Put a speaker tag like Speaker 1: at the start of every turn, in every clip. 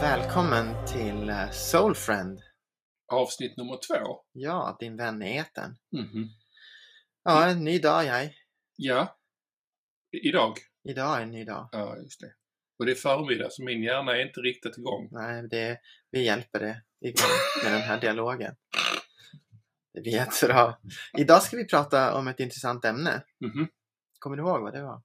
Speaker 1: Välkommen till eh, Soulfriend.
Speaker 2: Avsnitt nummer två.
Speaker 1: Ja, din vän i etern.
Speaker 2: Mhm.
Speaker 1: Ja, en ny dag jag.
Speaker 2: Ja. I- Idag.
Speaker 1: Idag är en ny dag.
Speaker 2: Ja, just det. Och det är förmiddag så min hjärna är inte riktigt igång.
Speaker 1: Nej, det, vi hjälper dig igång med den här dialogen. Det blir jättebra. Idag ska vi prata om ett intressant ämne.
Speaker 2: Mhm.
Speaker 1: Kommer du ihåg vad det var?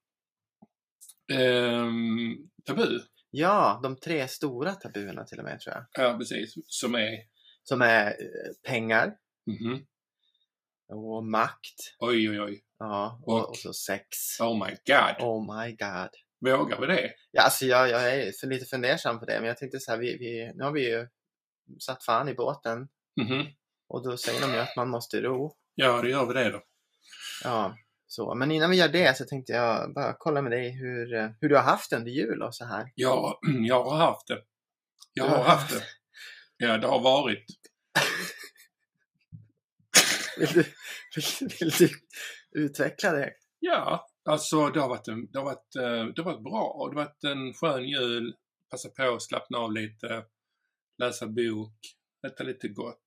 Speaker 2: Ehm, tabu.
Speaker 1: Ja, de tre stora tabuerna till och med tror jag.
Speaker 2: Ja, precis. Som är...
Speaker 1: Som är eh, pengar
Speaker 2: Mhm.
Speaker 1: och makt
Speaker 2: Oj, oj, oj.
Speaker 1: ja, och,
Speaker 2: Och-
Speaker 1: och så sex.
Speaker 2: Oh my god.
Speaker 1: Oh my god.
Speaker 2: Vågar vi det?
Speaker 1: Ja, alltså jag, jag är för lite fundersam på det, men jag tänkte så här, vi, vi, nu har vi ju satt fan i båten
Speaker 2: Mhm.
Speaker 1: och då säger de ju att man måste ro.
Speaker 2: Ja, det gör vi det då.
Speaker 1: Ja, så. Men innan vi gör det så tänkte jag bara kolla med dig hur, eh, hur du har haft det under jul och så här.
Speaker 2: Ja, jag har haft det. Jag
Speaker 1: Du har
Speaker 2: har haft det. Ja, det har varit.
Speaker 1: Vill du, vill, vill du utveckla det?
Speaker 2: Ja, alltså det har varit, en, det har varit, eh, det har varit bra. Och Det har varit en skön jul. Passa på att slappna av lite. Läsa bok. Äta lite gott.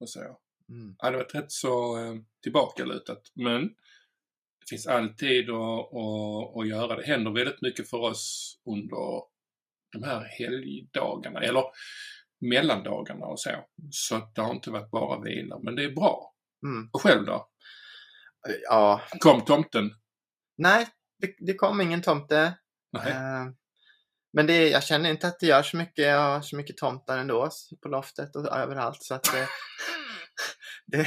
Speaker 2: Och så.
Speaker 1: Mm.
Speaker 2: Ja, det har varit rätt så eh, tillbakalutat. Men det finns alltid att, att, att göra. Det händer väldigt mycket för oss under de här helgdagarna. Eller mellandagarna och så. Så att det har inte varit bara vila. Men det är bra.
Speaker 1: Mm.
Speaker 2: Och själv då?
Speaker 1: Ja,
Speaker 2: Kom tomten?
Speaker 1: nej, det, det kom ingen tomte.
Speaker 2: Nej.
Speaker 1: Eh, Men det, jag känner inte att det gör så mycket. Jag har så mycket tomtar ändå s- på loftet och överallt. Så att det, det,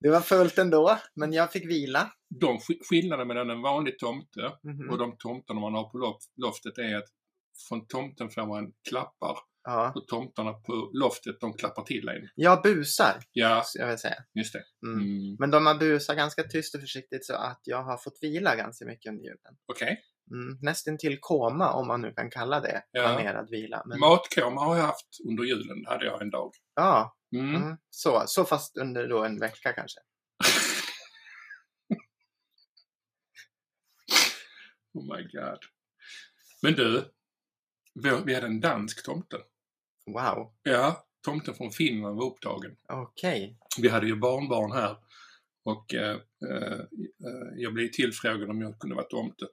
Speaker 1: det var fullt ändå, men jag fick vila.
Speaker 2: de sk- skillnaden mellan en vanlig tomte
Speaker 1: Mhm.
Speaker 2: och de tomtarna man har på lof- loftet är att från tomten får man klappar
Speaker 1: Ja.
Speaker 2: och tomtarna på loftet de klappar till en.
Speaker 1: Jag busar,
Speaker 2: Ja,
Speaker 1: ska jag vill säga.
Speaker 2: just det.
Speaker 1: Mm.
Speaker 2: Mm.
Speaker 1: Men de har busat ganska tyst och försiktigt så att jag har fått vila ganska mycket under julen.
Speaker 2: Okej.
Speaker 1: Mm. Nästan till koma, om man nu kan kalla det
Speaker 2: Ja.
Speaker 1: planerad vila. Men,
Speaker 2: Matkoma har jag haft under julen, hade jag en dag.
Speaker 1: ja,
Speaker 2: Mm.
Speaker 1: mm. så, så fast under då en vecka kanske.
Speaker 2: Oh my god. Men du, vi- vi hade en dansk tomte.
Speaker 1: Wow,
Speaker 2: Ja, tomten från Finland var upptagen.
Speaker 1: okej.
Speaker 2: vi hade ju barnbarn här och eh, eh, jag blev tillfrågad om jag kunde vara tomte.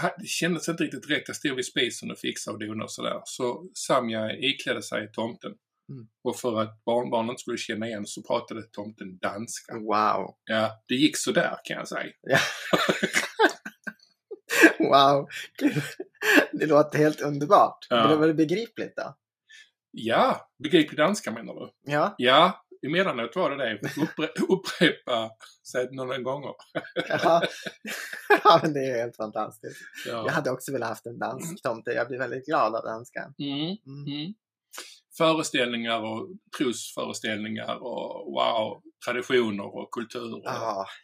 Speaker 2: Ha- Det kändes inte riktigt rätt. Jag stod vid spisen och fixade och donade och sådär. Så Samja iklädde sig i tomten.
Speaker 1: Mm.
Speaker 2: Och för att barnbarnen inte skulle känna igen så pratade tomten danska.
Speaker 1: Mm. Wow.
Speaker 2: Ja, det gick sådär kan jag säga.
Speaker 1: Wow, Gud. det låter helt underbart.
Speaker 2: Ja.
Speaker 1: Men det var det begripligt då?
Speaker 2: Ja, begriplig danska menar du?
Speaker 1: Ja,
Speaker 2: Ja, emellanåt var det det. Uppre- upprepa sig några gånger.
Speaker 1: ja. ja men det är helt fantastiskt. Jag
Speaker 2: Ja.
Speaker 1: hade också velat haft en dansk tomte. Jag blir väldigt glad av danskan.
Speaker 2: Mm.
Speaker 1: Mm.
Speaker 2: Mm. Föreställningar och trosföreställningar och wow, traditioner och kultur. Och,
Speaker 1: Ja,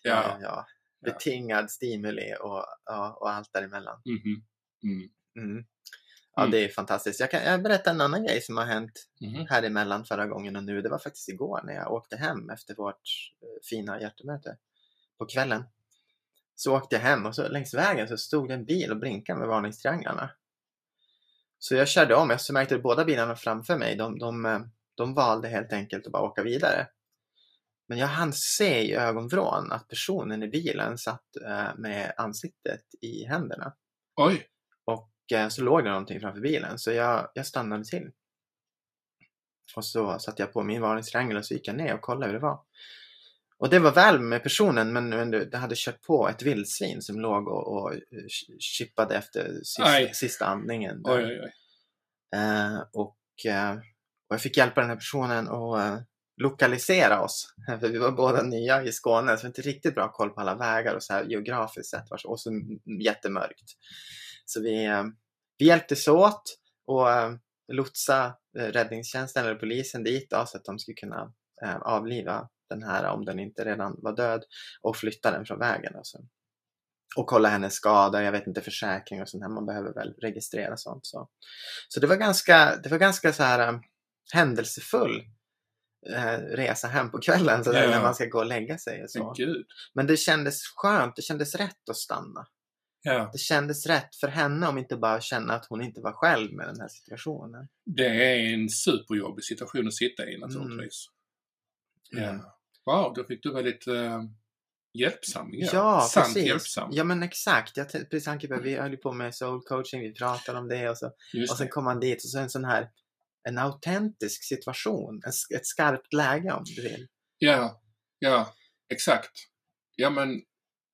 Speaker 1: ja,
Speaker 2: Ja.
Speaker 1: ja.
Speaker 2: Ja.
Speaker 1: Betingad stimuli och, ja, och allt däremellan.
Speaker 2: Mhm. Mm.
Speaker 1: Mm. Ja,
Speaker 2: Mm.
Speaker 1: det är fantastiskt. Jag kan jag berätta en annan grej som har hänt
Speaker 2: Mhm.
Speaker 1: här emellan förra gången och nu. Det var faktiskt igår när jag åkte hem efter vårt eh, fina hjärtemöte på kvällen. Så åkte jag hem och så längs vägen så stod det en bil och blinkade med varningstrianglarna. Så jag körde om. Jag så märkte att båda bilarna framför mig, de, de, eh, de valde helt enkelt att bara åka vidare. Men jag hann se i ögonvrån att personen i bilen satt eh, med ansiktet i händerna.
Speaker 2: Oj,
Speaker 1: Och eh, så låg det någonting framför bilen så jag, jag stannade till. Och så satte jag på min varningstriangel och så gick jag ner och kollade hur det var. Och det var väl med personen men, men det det hade kört på ett vildsvin som låg och, och eh, ch- chippade efter sista,
Speaker 2: Aj.
Speaker 1: sista andningen. där.
Speaker 2: oj, oj, oj.
Speaker 1: Eh, och, eh, och jag fick hjälpa den här personen att eh, lokalisera oss. För vi var båda nya i Skåne, så vi hade inte riktigt bra koll på alla vägar och så här geografiskt sett. var så- Och så m- jättemörkt. Så vi, eh, vi hjälptes åt och eh, lotsa eh, räddningstjänsten eller polisen dit då, så att de skulle kunna eh, avliva den här om den inte redan var död och flytta den från vägen. Alltså. Och kolla hennes skada, jag vet inte försäkring och sånt här. Man behöver väl registrera sånt. Så. Så det var ganska, det var ganska så här eh, händelsefull eh, resa hem på kvällen så där,
Speaker 2: Ja.
Speaker 1: när man ska gå och lägga sig. Och så.
Speaker 2: Men gud.
Speaker 1: Men det kändes skönt, det kändes rätt att stanna.
Speaker 2: Ja,
Speaker 1: Det kändes rätt för henne om inte bara känna att hon inte var själv med den här situationen.
Speaker 2: det är en superjobbig situation att sitta i naturligtvis.
Speaker 1: Mm.
Speaker 2: Ja. Wow, då fick du väldigt eh, hjälpsam. igen.
Speaker 1: Ja,
Speaker 2: Sant
Speaker 1: precis.
Speaker 2: hjälpsam.
Speaker 1: Ja, men exakt. Jag tänkte precis tanke på, vi höll ju på med soul coaching, vi pratade om det och så
Speaker 2: Just
Speaker 1: Och sen
Speaker 2: det.
Speaker 1: kom han dit och så en sån här en autentisk situation, en, sk- ett skarpt läge om du vill.
Speaker 2: Ja, ja, exakt. Ja, men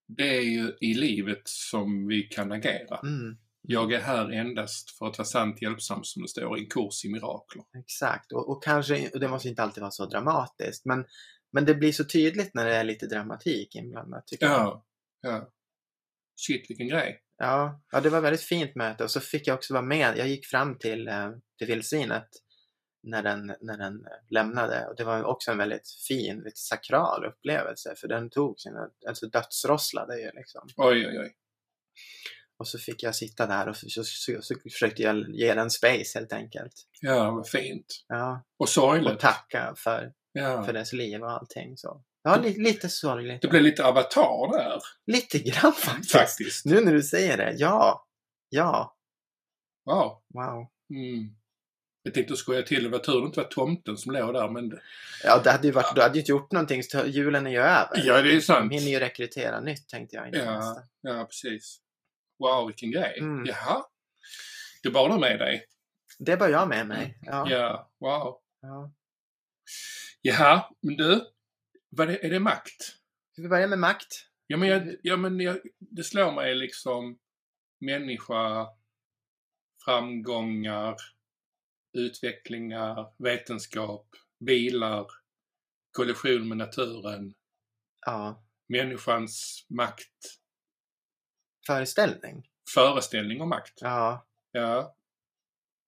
Speaker 2: det är ju i livet som vi kan agera.
Speaker 1: Mm,
Speaker 2: Jag är här endast för att vara sant hjälpsam som det står i en kurs i mirakler.
Speaker 1: exakt, och, och kanske, och det måste inte alltid vara så dramatiskt, men, men det blir så tydligt när det är lite dramatik inblandat. Tycker jag.
Speaker 2: Ja, ja. Shit, vilken grej.
Speaker 1: Ja, ja, det var ett väldigt fint möte och så fick jag också vara med. Jag gick fram till, eh, till vildsvinet när den, när den eh, lämnade och det var också en väldigt fin, lite sakral upplevelse för den tog sina, alltså dödsrosslade ju liksom.
Speaker 2: Oj, oj, oj.
Speaker 1: Och så fick jag sitta där och så, så, så, så försökte jag ge den space helt enkelt.
Speaker 2: Ja, vad fint.
Speaker 1: Ja,
Speaker 2: Och sorgligt.
Speaker 1: och tacka för,
Speaker 2: Ja.
Speaker 1: för dess liv och allting så. Ja, li, lite sorgligt.
Speaker 2: Det blev lite avatar där,
Speaker 1: Lite grann faktiskt.
Speaker 2: faktiskt.
Speaker 1: Nu när du säger det, ja. Ja,
Speaker 2: Wow.
Speaker 1: wow.
Speaker 2: Mm. Jag tänkte skoja till det. Vad tur det inte var tomten som låg där, men... det-
Speaker 1: Ja, det hade ju varit, du hade ju inte gjort någonting så julen är ju över.
Speaker 2: Ja, det är sant.
Speaker 1: De hinner ju rekrytera nytt tänkte jag innan
Speaker 2: Ja.
Speaker 1: nästa.
Speaker 2: Ja, precis. Wow, vilken grej.
Speaker 1: Mm.
Speaker 2: Jaha. Du badar med dig?
Speaker 1: Det bör jag med mig. Ja, ja.
Speaker 2: Ja, wow. Jaha, men du. Vad är, är det makt?
Speaker 1: Ska vi börja med makt?
Speaker 2: Ja, men, jag, ja, men jag, det slår mig liksom människa, framgångar, utvecklingar, vetenskap, bilar, kollision med naturen,
Speaker 1: Ja.
Speaker 2: människans makt,
Speaker 1: Föreställning?
Speaker 2: föreställning om makt.
Speaker 1: Ja.
Speaker 2: Ja.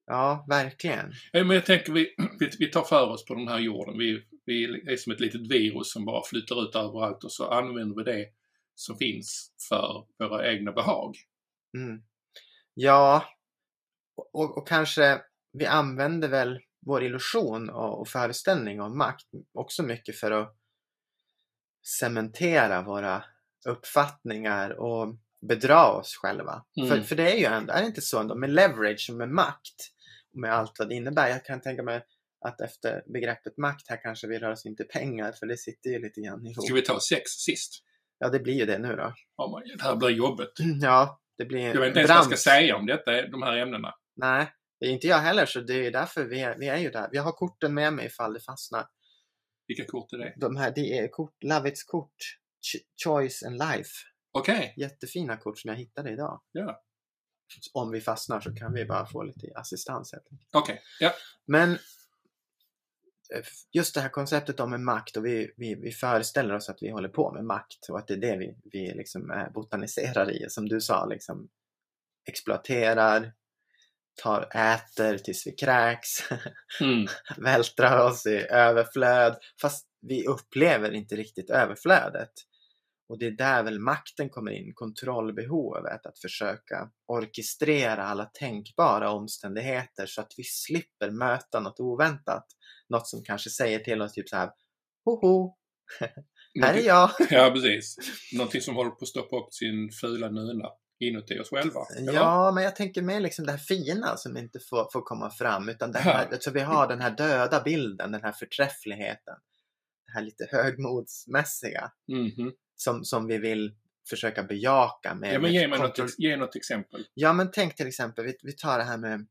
Speaker 1: Ja, verkligen.
Speaker 2: Ja, men jag tänker vi, vi, vi tar för oss på den här jorden. Vi, vi är som ett litet virus som bara flyttar ut överallt och så använder vi det som finns för våra egna behag.
Speaker 1: Mm. Ja, och- och, och kanske vi använder väl vår illusion och, och föreställning om makt också mycket för att cementera våra uppfattningar och bedra oss själva.
Speaker 2: Mm.
Speaker 1: För, för det är ju ändå, är det inte så ändå med leverage och med makt och med allt vad det innebär. Jag kan tänka mig att efter begreppet makt här kanske vi rör oss in till pengar för det sitter ju lite grann ihop.
Speaker 2: Ska vi ta sex sist?
Speaker 1: Ja, det blir ju det nu då.
Speaker 2: Oh my, det här blir jobbigt.
Speaker 1: Ja, det blir
Speaker 2: Jag vet inte ens vad jag ska säga om detta, de här ämnena.
Speaker 1: Nej, det är inte jag heller, så det är ju därför vi är, vi är ju där. Jag har korten med mig ifall det fastnar.
Speaker 2: Vilka kort är det?
Speaker 1: De här, det är kort, Lovets kort, Ch- Choice and Life.
Speaker 2: Okej,
Speaker 1: Jättefina kort som jag hittade idag.
Speaker 2: Ja.
Speaker 1: Så Om vi fastnar så kan vi bara få lite assistans. Helt enkelt.
Speaker 2: okej. Ja.
Speaker 1: Men eh, just det här konceptet om en makt och vi, vi, vi föreställer oss att vi håller på med makt och att det är det vi, vi liksom eh, botaniserar i. Som du sa, liksom exploaterar, tar, äter tills vi kräks.
Speaker 2: Mm.
Speaker 1: vältrar oss i överflöd fast vi upplever inte riktigt överflödet. Och det är där väl makten kommer in, kontrollbehovet att försöka orkestrera alla tänkbara omständigheter så att vi slipper möta något oväntat. Något som kanske säger till oss typ så här Hoho, här är jag!
Speaker 2: Ja, precis. Någonting som håller på att stoppa upp sin fula nuna inuti oss själva. eller?
Speaker 1: Ja, men jag tänker mer liksom det här fina som inte får, får komma fram. Utan det här,
Speaker 2: Ja.
Speaker 1: så vi har den här döda bilden, den här förträffligheten. Det här lite högmodsmässiga
Speaker 2: Mhm.
Speaker 1: som, som vi vill försöka bejaka. Med,
Speaker 2: Ja, men
Speaker 1: med
Speaker 2: ge mig något,
Speaker 1: kontroll-
Speaker 2: ex- ge något exempel.
Speaker 1: Ja, men tänk till exempel, vi, vi tar det här med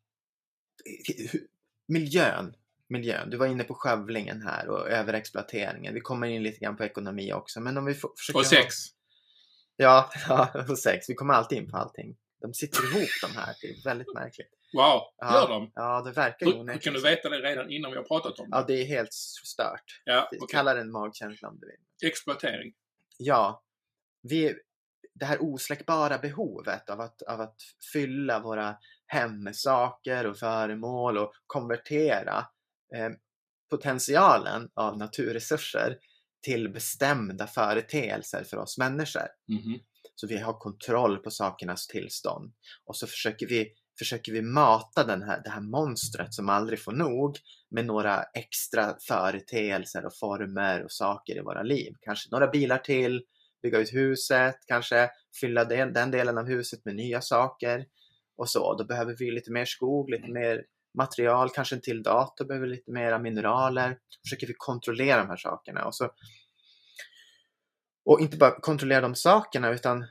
Speaker 1: hur- miljön. Miljön. Du var inne på skövlingen här och överexploateringen. Vi kommer in lite grann på ekonomi också. Men om vi får, försöker...
Speaker 2: Och
Speaker 1: ha-
Speaker 2: sex.
Speaker 1: Ja, ja, och sex. Vi kommer alltid in på allting. De sitter ihop de här. Det är väldigt märkligt.
Speaker 2: Wow,
Speaker 1: Ja.
Speaker 2: gör dem.
Speaker 1: Ja, det verkar ju
Speaker 2: Hur, hur
Speaker 1: onekligen
Speaker 2: kan du
Speaker 1: så.
Speaker 2: veta det redan innan vi har pratat om det?
Speaker 1: Ja, det är helt stört.
Speaker 2: Ja,
Speaker 1: Det-
Speaker 2: okej.
Speaker 1: Kalla det en magkänsla om du vill.
Speaker 2: Exploatering.
Speaker 1: Ja, vi, det här osläckbara behovet av att, av att fylla våra hem med saker och föremål och konvertera eh, potentialen av naturresurser till bestämda företeelser för oss människor.
Speaker 2: Mhm.
Speaker 1: Så vi har kontroll på sakernas tillstånd. Och så försöker vi, försöker vi mata den här, det här monstret som aldrig får nog med några extra företeelser och former och saker i våra liv. Kanske några bilar till, bygga ut huset, kanske fylla den, den delen av huset med nya saker och så. Då behöver vi lite mer skog, lite mer material, kanske en till dator behöver lite mera mineraler. Försöker vi kontrollera de här sakerna och så och inte bara kontrollera de sakerna utan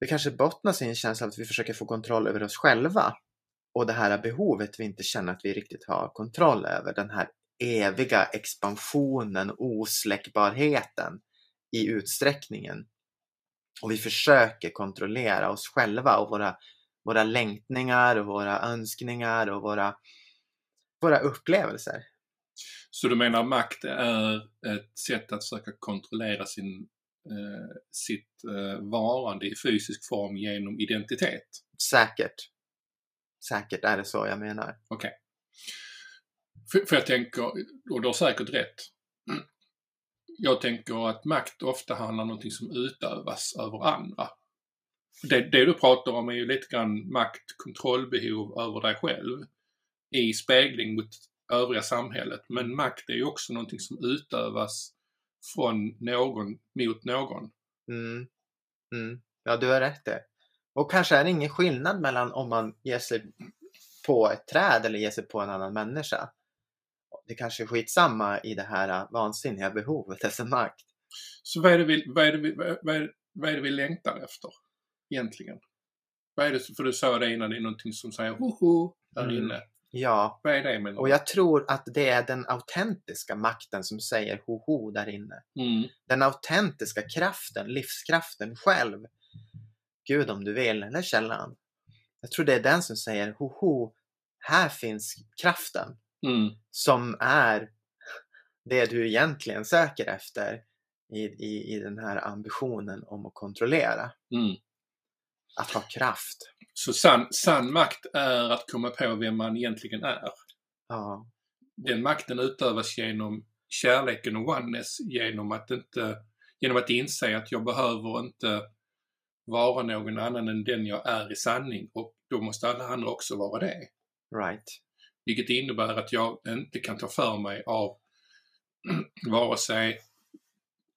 Speaker 1: det kanske bottnar sig i en känsla av att vi försöker få kontroll över oss själva och det här behovet vi inte känner att vi riktigt har kontroll över. Den här eviga expansionen, osläckbarheten i utsträckningen. Och vi försöker kontrollera oss själva och våra, våra längtningar och våra önskningar och våra, våra upplevelser.
Speaker 2: Så du menar makt är ett sätt att försöka kontrollera sin, eh, sitt eh, varande i fysisk form genom identitet?
Speaker 1: Säkert. Säkert är det så jag menar.
Speaker 2: Okej. För, för jag tänker, och du har säkert rätt, jag tänker att makt ofta handlar om någonting som utövas över andra. Det, det du pratar om är ju lite grann makt, kontrollbehov över dig själv i spegling mot övriga samhället. Men makt är ju också någonting som utövas från någon mot någon.
Speaker 1: Mm. Mm. Ja, du har rätt det. Och kanske är det ingen skillnad mellan om man ger sig på ett träd eller ger sig på en annan människa. Det kanske är skitsamma i det här äh, vansinniga behovet efter makt.
Speaker 2: Så vad är det vi, vad är det vi, vad är, det- vad är det vi längtar efter egentligen? Vad är det, för du sa det innan, det är någonting som säger hoho där
Speaker 1: Mm.
Speaker 2: inne.
Speaker 1: Ja,
Speaker 2: Vad är det med
Speaker 1: och jag tror att det är den autentiska makten som säger hoho där inne.
Speaker 2: mm.
Speaker 1: Den autentiska kraften, livskraften själv. Gud om du vill, eller källan. Jag tror det är den som säger hoho, här finns kraften.
Speaker 2: Mm.
Speaker 1: som är det du egentligen söker efter i, i, i den här ambitionen om att kontrollera.
Speaker 2: Mm.
Speaker 1: Att ha kraft.
Speaker 2: Så sann, sann makt är att komma på vem man egentligen är.
Speaker 1: Ja,
Speaker 2: Den makten utövas genom kärleken och oneness genom att inte, genom att inse att jag behöver inte vara någon annan än den jag är i sanning och då måste alla andra också vara det.
Speaker 1: right.
Speaker 2: Vilket innebär att jag inte kan ta för mig av vare sig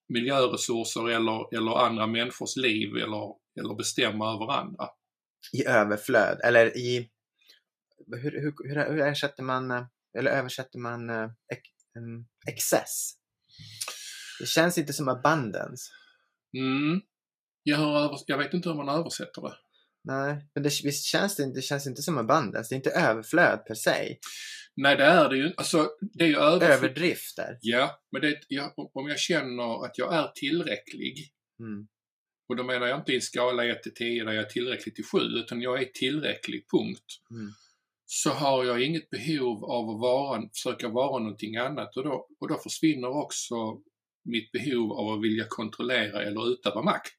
Speaker 2: miljöresurser eller, eller andra människors liv eller, eller bestämma över andra.
Speaker 1: I överflöd, eller i... Hur, hur, hur, hur ersätter man, eh, eller översätter man eh, ex, em, excess? Det känns inte som abundance.
Speaker 2: Mm. Jag, har övers- jag vet inte hur man översätter det.
Speaker 1: Nej, men det, visst känns det, det känns inte som abundance. Det är inte överflöd per se.
Speaker 2: Nej, det är det ju Alltså, det är ju överflöd.
Speaker 1: Överdrifter.
Speaker 2: Ja, men det, ja, om jag känner att jag är tillräcklig,
Speaker 1: Mm.
Speaker 2: och då menar jag inte i en skala 1 till 10 där jag är tillräcklig till 7, utan jag är tillräcklig, punkt.
Speaker 1: Mm.
Speaker 2: Så har jag inget behov av att vara, försöka vara någonting annat och då, och då försvinner också mitt behov av att vilja kontrollera eller utöva makt.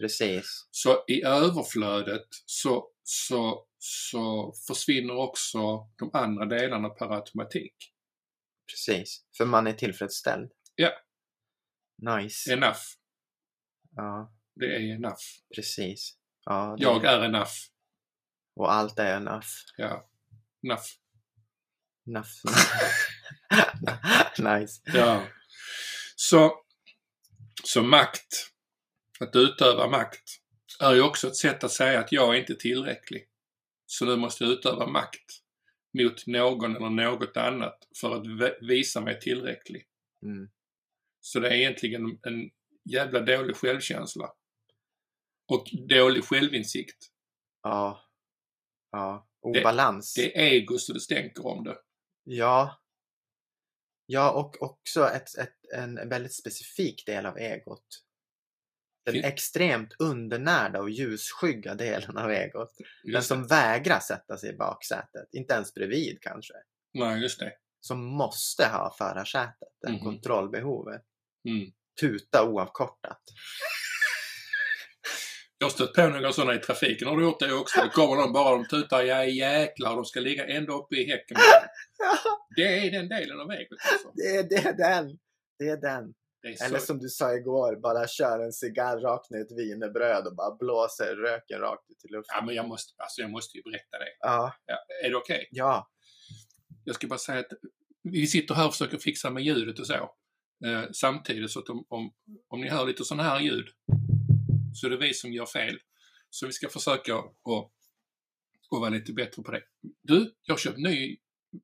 Speaker 1: Precis.
Speaker 2: Så i överflödet så, så, så försvinner också de andra delarna per automatik.
Speaker 1: Precis, för man är tillfredsställd.
Speaker 2: Ja.
Speaker 1: Nice.
Speaker 2: Enough.
Speaker 1: Ja,
Speaker 2: Det är enough.
Speaker 1: precis. Ja, det-
Speaker 2: Jag är enough.
Speaker 1: Och allt är enough.
Speaker 2: Ja. Enough.
Speaker 1: enough. nice.
Speaker 2: Ja. Så, så makt, att utöva makt, är ju också ett sätt att säga att jag är inte tillräcklig. Så nu måste jag utöva makt mot någon eller något annat för att ve- visa mig tillräcklig.
Speaker 1: Mm.
Speaker 2: Så det är egentligen en jävla dålig självkänsla. Och dålig självinsikt.
Speaker 1: Ja. Ja. Obalans.
Speaker 2: Det är ego så det stänker om det.
Speaker 1: Ja. Ja, och också ett, ett, en väldigt specifik del av egot. Den
Speaker 2: Fin-
Speaker 1: extremt undernärda och ljusskygga delen av egot. Den
Speaker 2: Just,
Speaker 1: som vägrar sätta sig i baksätet. Inte ens bredvid kanske.
Speaker 2: Nej, just det.
Speaker 1: som måste ha förarsätet, det här
Speaker 2: Mhm.
Speaker 1: kontrollbehovet.
Speaker 2: Mm.
Speaker 1: Tuta oavkortat.
Speaker 2: Jag har stött på några sådana i trafiken. Har du gjort det också? Då kommer de bara, de tutar, ja jäklar, de ska ligga ända uppe i häcken. Det är den delen av egot alltså.
Speaker 1: det, är, det är den! Det är den.
Speaker 2: Det är
Speaker 1: Eller
Speaker 2: så...
Speaker 1: som du sa igår, bara kör en cigarr rakt ner i ett wienerbröd och bara blåser röken rakt ut i luften.
Speaker 2: Ja, men jag måste, alltså, jag måste ju berätta det.
Speaker 1: Ja,
Speaker 2: Ja, är det okej?
Speaker 1: ja,
Speaker 2: Jag ska bara säga att vi sitter här och försöker fixa med ljudet och så. Eh, samtidigt så att om, om, om ni hör lite sådana här ljud Så det är vi som gör fel. Så vi ska försöka att och vara lite bättre på det. Du, jag har köpt ny,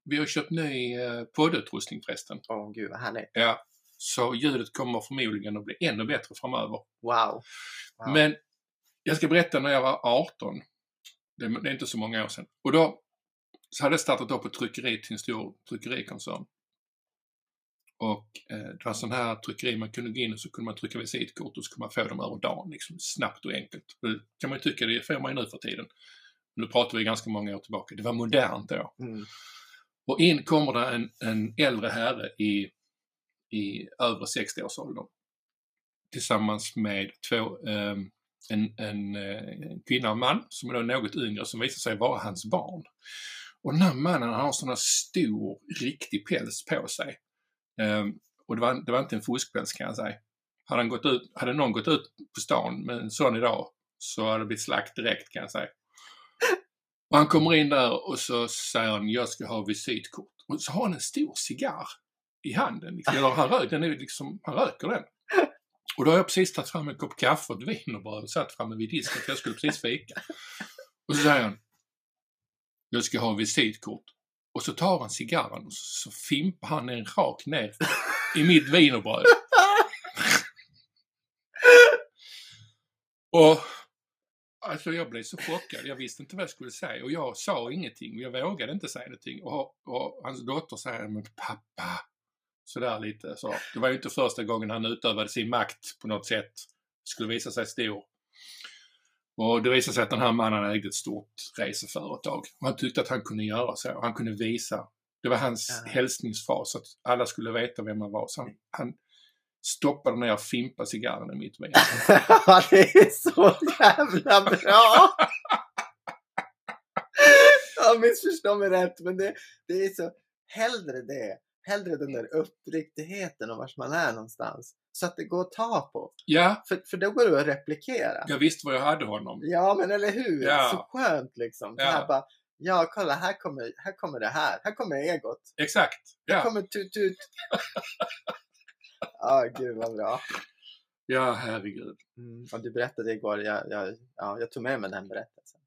Speaker 2: vi har köpt ny eh, poddutrustning förresten.
Speaker 1: Åh gud vad härligt.
Speaker 2: Ja, så ljudet kommer förmodligen att bli ännu bättre framöver.
Speaker 1: Wow. wow.
Speaker 2: Men jag ska berätta när jag var 18. Det är det är inte så många år sedan. Och då så hade jag startat upp ett tryckeri till en stor tryckerikoncern. Och eh, det var sån här tryckeri man kunde gå in och så kunde man trycka visitkort och så kunde man få dem över dagen liksom, snabbt och enkelt. Det kan man ju tycka, det får man ju nu för tiden. Nu pratar vi ganska många år tillbaka. Det var modernt då.
Speaker 1: Mm.
Speaker 2: Och in kommer det en, en äldre herre i, i över 60-årsåldern. Tillsammans med två, eh, en, en, eh, en kvinna och en man som är då något yngre som visar sig vara hans barn. Och den här mannen han har sån här stor, riktig päls på sig. Eh, och det var, det var inte en fuskpäls kan jag säga. Hade, han gått ut, hade någon gått ut på stan med en sån idag så hade det blivit slakt direkt kan jag säga. Och han kommer in där och så säger han, jag ska ha visitkort. Och så har han en stor cigarr i handen. Liksom. Eller han, rök, den är ju liksom, han röker den. Och då har jag precis tagit fram en kopp kaffe och ett wienerbröd och satt framme vid disken för jag skulle precis fika. Och så säger han, jag ska ha visitkort. Och så tar han cigarren och så fimpar han den rakt ner i mitt wienerbröd. och Alltså jag blev så chockad. Jag visste inte vad jag skulle säga och jag sa ingenting och jag vågade inte säga någonting. Och, och hans dotter säger men pappa. Sådär lite så. Det var ju inte första gången han utövade sin makt på något sätt. Det skulle visa sig stor. Och det visade sig att den här mannen ägde ett stort reseföretag. Och han tyckte att han kunde göra så. Han kunde visa. Det var hans
Speaker 1: Ja.
Speaker 2: hälsningsfras att alla skulle veta vem han var. Så han, han stoppade ner och fimpade cigarren i mitt ben.
Speaker 1: Ja, det är så jävla bra! Ja, missförstå mig rätt, men det, det är så... Hellre det. Hellre den där uppriktigheten om vart man är någonstans. Så att det går att ta på.
Speaker 2: Ja,
Speaker 1: För, för då går det att replikera.
Speaker 2: jag visste vad jag hade honom.
Speaker 1: Ja, men eller hur?
Speaker 2: Ja.
Speaker 1: Så skönt liksom. Så
Speaker 2: Ja.
Speaker 1: Här bara, ja, kolla, här kommer, här kommer det här. Här kommer egot.
Speaker 2: Exakt.
Speaker 1: Här
Speaker 2: Ja.
Speaker 1: kommer tut-tut. Ja, gud vad bra.
Speaker 2: Ja, herregud.
Speaker 1: Mm. Och du berättade igår, jag, jag, ja, jag tog med mig den berättelsen.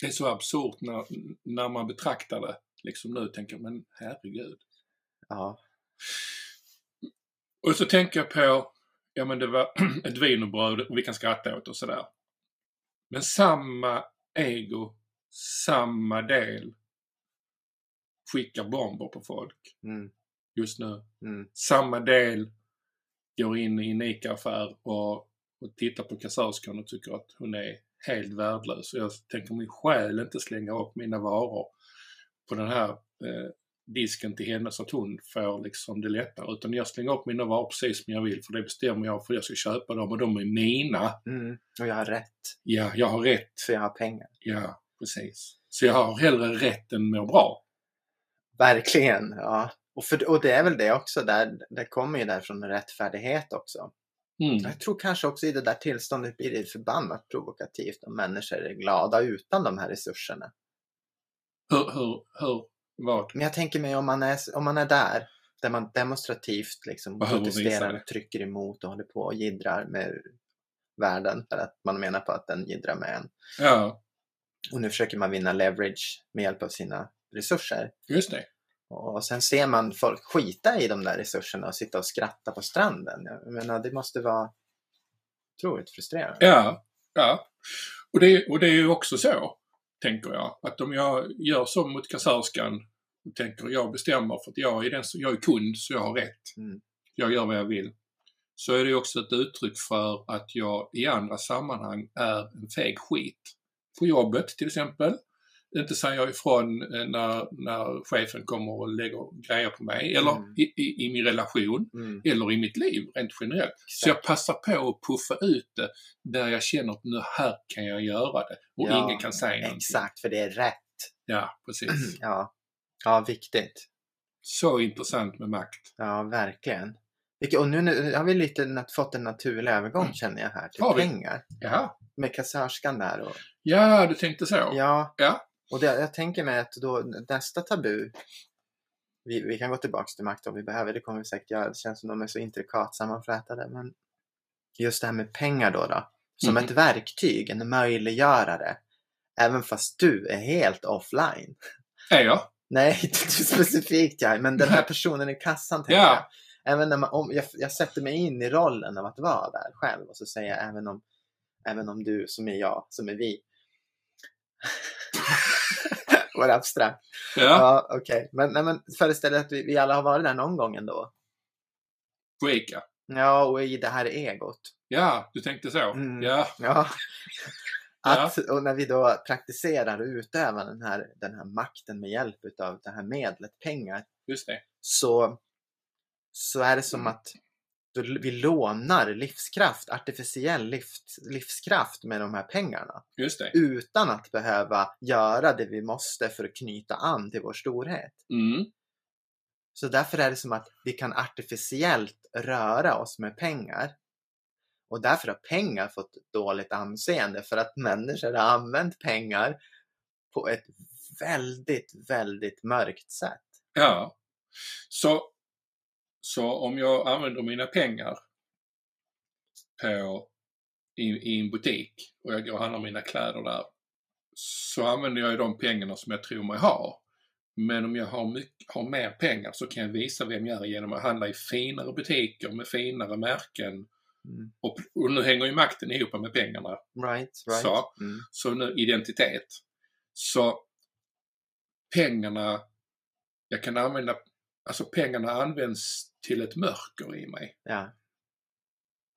Speaker 2: Det är så absurt när, när man betraktar det liksom nu tänker jag, men herregud.
Speaker 1: Ja.
Speaker 2: Och så tänker jag på, ja men det var ett wienerbröd och vi kan skratta åt och sådär. Men samma ego, samma del skickar bomber på folk
Speaker 1: Mm.
Speaker 2: just nu.
Speaker 1: Mm.
Speaker 2: Samma del går in i en ICA-affär och, och tittar på kassörskan och tycker att hon är helt värdelös. Och jag tänker min själ inte slänga upp mina varor på den här eh, disken till henne så att hon får liksom det lättare. Utan jag slänger upp mina varor precis som jag vill för det bestämmer jag för jag ska köpa dem och de är mina.
Speaker 1: Mm. Och jag har rätt,
Speaker 2: Ja, jag har rätt.
Speaker 1: för jag har pengar.
Speaker 2: Ja, precis. Så jag har hellre rätt än mår bra.
Speaker 1: Verkligen. Ja. Och, för, och det är väl det också, där, det kommer ju därifrån rättfärdighet också.
Speaker 2: Mm.
Speaker 1: Jag tror kanske också i det där tillståndet blir det förbannat provokativt om människor är glada utan de här resurserna.
Speaker 2: Hur, hur, hur, vad?
Speaker 1: Men jag tänker mig om man är, om man är där, där man demonstrativt liksom
Speaker 2: Behöver visa
Speaker 1: protesterar
Speaker 2: det.
Speaker 1: och trycker emot och håller på och jiddrar med världen för att man menar på att den jiddrar med en.
Speaker 2: Ja,
Speaker 1: Och nu försöker man vinna leverage med hjälp av sina resurser.
Speaker 2: just det.
Speaker 1: Och sen ser man folk skita i de där resurserna och sitta och skratta på stranden. Jag menar, det måste vara otroligt frustrerande.
Speaker 2: Ja, ja. Och det, och det är ju också så, tänker jag, att om jag gör så mot kassörskan och tänker jag bestämmer för att jag är, den, som- jag är kund så jag har rätt.
Speaker 1: Mm.
Speaker 2: Jag gör vad jag vill. Så är det ju också ett uttryck för att jag i andra sammanhang är en feg skit. På jobbet till exempel. Inte säger jag ifrån eh, när, när chefen kommer och lägger grejer på mig. Eller
Speaker 1: Mm.
Speaker 2: i, i, i min relation
Speaker 1: Mm,
Speaker 2: eller i mitt liv rent generellt. Så jag passar på att puffa ut det där jag känner att nu här kan jag göra det och
Speaker 1: Ja,
Speaker 2: ingen kan säga någonting.
Speaker 1: Exakt, för det är rätt. Mm.
Speaker 2: Ja, precis.
Speaker 1: Ja, ja viktigt.
Speaker 2: Så intressant med makt.
Speaker 1: Ja, verkligen. Vilket- Och nu, nu har vi lite nat- fått en naturlig övergång känner jag här till
Speaker 2: Mm. Har vi?
Speaker 1: pengar.
Speaker 2: Jaha.
Speaker 1: Med kassörskan där och
Speaker 2: Ja, du tänkte så. Ja.
Speaker 1: ja.
Speaker 2: Ja.
Speaker 1: Och det, jag tänker mig att då nästa tabu vi, vi kan gå tillbaks till makt om vi behöver, det kommer vi säkert göra. Det känns som de är så intrikat sammanflätade. Men just det här med pengar då. då som
Speaker 2: Mm.
Speaker 1: ett verktyg, en möjliggörare. Även fast du är helt offline.
Speaker 2: Är jag?
Speaker 1: Nej, inte du specifikt jag, men den här
Speaker 2: Nej.
Speaker 1: personen i kassan tänker
Speaker 2: Ja.
Speaker 1: jag. Även när man, om, jag, jag sätter mig in i rollen av att vara där själv och så säger jag även om, även om du som är jag, som är vi. Var det abstrakt?
Speaker 2: Ja,
Speaker 1: Ja, okej. Men, nej, men föreställ dig att vi, vi alla har varit där någon gång ändå.
Speaker 2: breaka.
Speaker 1: Ja, och i det här egot.
Speaker 2: Ja, du tänkte så.
Speaker 1: Mm.
Speaker 2: Ja,
Speaker 1: Ja.
Speaker 2: Ja.
Speaker 1: Att, och när vi då praktiserar och utövar den här, den här makten med hjälp av det här medlet pengar
Speaker 2: just det.
Speaker 1: så, så är det som att då l- vi lånar livskraft, artificiell livs, livskraft med de här pengarna
Speaker 2: Just det.
Speaker 1: utan att behöva göra det vi måste för att knyta an till vår storhet.
Speaker 2: Mm.
Speaker 1: Så därför är det som att vi kan artificiellt röra oss med pengar. Och därför har pengar fått dåligt anseende för att människor har använt pengar på ett väldigt, väldigt mörkt sätt.
Speaker 2: Ja. Så, så om jag använder mina pengar på, i, i en butik och jag går och handlar mina kläder där så använder jag ju de pengarna som jag tror mig ha. Men om jag har, mycket, har mer pengar så kan jag visa vem jag är genom att handla i finare butiker med finare märken.
Speaker 1: Mm.
Speaker 2: Och, och nu hänger ju makten ihop med pengarna
Speaker 1: Right, right.
Speaker 2: Så.
Speaker 1: Mm.
Speaker 2: så nu identitet. Så pengarna, jag kan använda, alltså pengarna används till ett mörker i mig.
Speaker 1: Ja.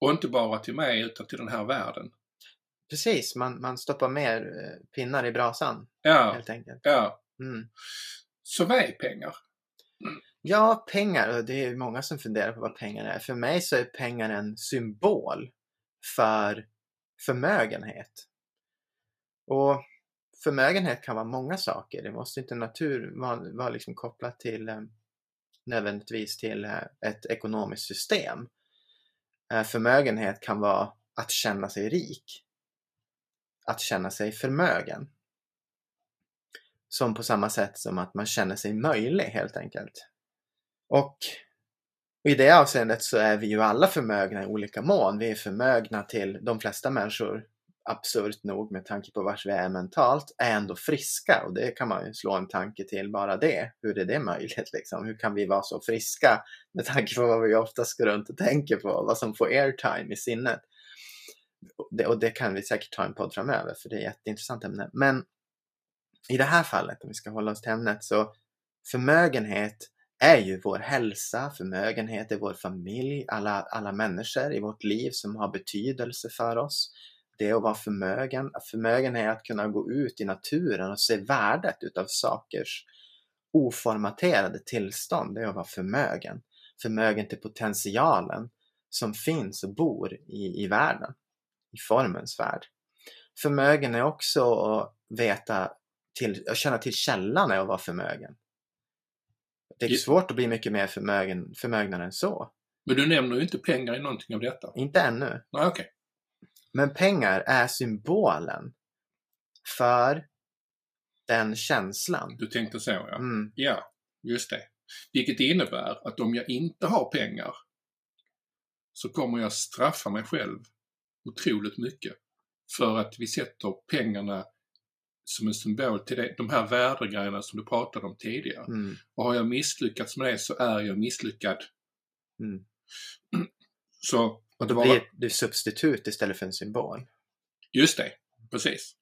Speaker 2: Och inte bara till mig utan till den här världen.
Speaker 1: Precis, man, man stoppar mer eh, pinnar i brasan
Speaker 2: Ja,
Speaker 1: helt enkelt.
Speaker 2: ja.
Speaker 1: Mm.
Speaker 2: Så vad är pengar?
Speaker 1: Ja, pengar. och Det är många som funderar på vad pengar är. För mig så är pengar en symbol för förmögenhet. Och förmögenhet kan vara många saker. Det måste inte natur vara, vara liksom kopplat till eh, nödvändigtvis till eh, ett ekonomiskt system. Eh, Förmögenhet kan vara att känna sig rik. Att känna sig förmögen. Som på samma sätt som att man känner sig möjlig helt enkelt. Och i det avseendet så är vi ju alla förmögna i olika mån. Vi är förmögna till de flesta människor, absurt nog med tanke på vars vi är mentalt, är ändå friska. Och det kan man ju slå en tanke till bara det. Hur är det möjligt liksom? Hur kan vi vara så friska med tanke på vad vi oftast går runt och tänker på, vad som får airtime i sinnet? Och det, och det kan vi säkert ta en podd framöver för det är ett jätteintressant ämne. Men i det här fallet, om vi ska hålla oss till ämnet, så förmögenhet är ju vår hälsa, förmögenhet är vår familj, alla, alla människor i vårt liv som har betydelse för oss. Det är att vara förmögen. Förmögen är att kunna gå ut i naturen och se värdet utav sakers oformaterade tillstånd. Det är att vara förmögen. Förmögen till potentialen som finns och bor i, i världen, i formens värld. Förmögen är också att veta till, att känna till källan är att vara förmögen. Det är
Speaker 2: Ja.
Speaker 1: svårt att bli mycket mer förmögen, förmögnare än så.
Speaker 2: Men du nämner ju inte pengar i någonting av detta.
Speaker 1: Inte ännu.
Speaker 2: Nej, okej.
Speaker 1: Men pengar är symbolen för den känslan.
Speaker 2: Du tänkte så ja.
Speaker 1: Mm,
Speaker 2: Ja, just det. Vilket innebär att om jag inte har pengar så kommer jag straffa mig själv otroligt mycket. För att vi sätter pengarna som en symbol till det, de här värdegrejerna som du pratade om tidigare.
Speaker 1: mm,
Speaker 2: Och har jag misslyckats med det så är jag misslyckad.
Speaker 1: mm.
Speaker 2: Så,
Speaker 1: Och då
Speaker 2: Vad-
Speaker 1: blir du substitut istället för en symbol.
Speaker 2: just det, precis.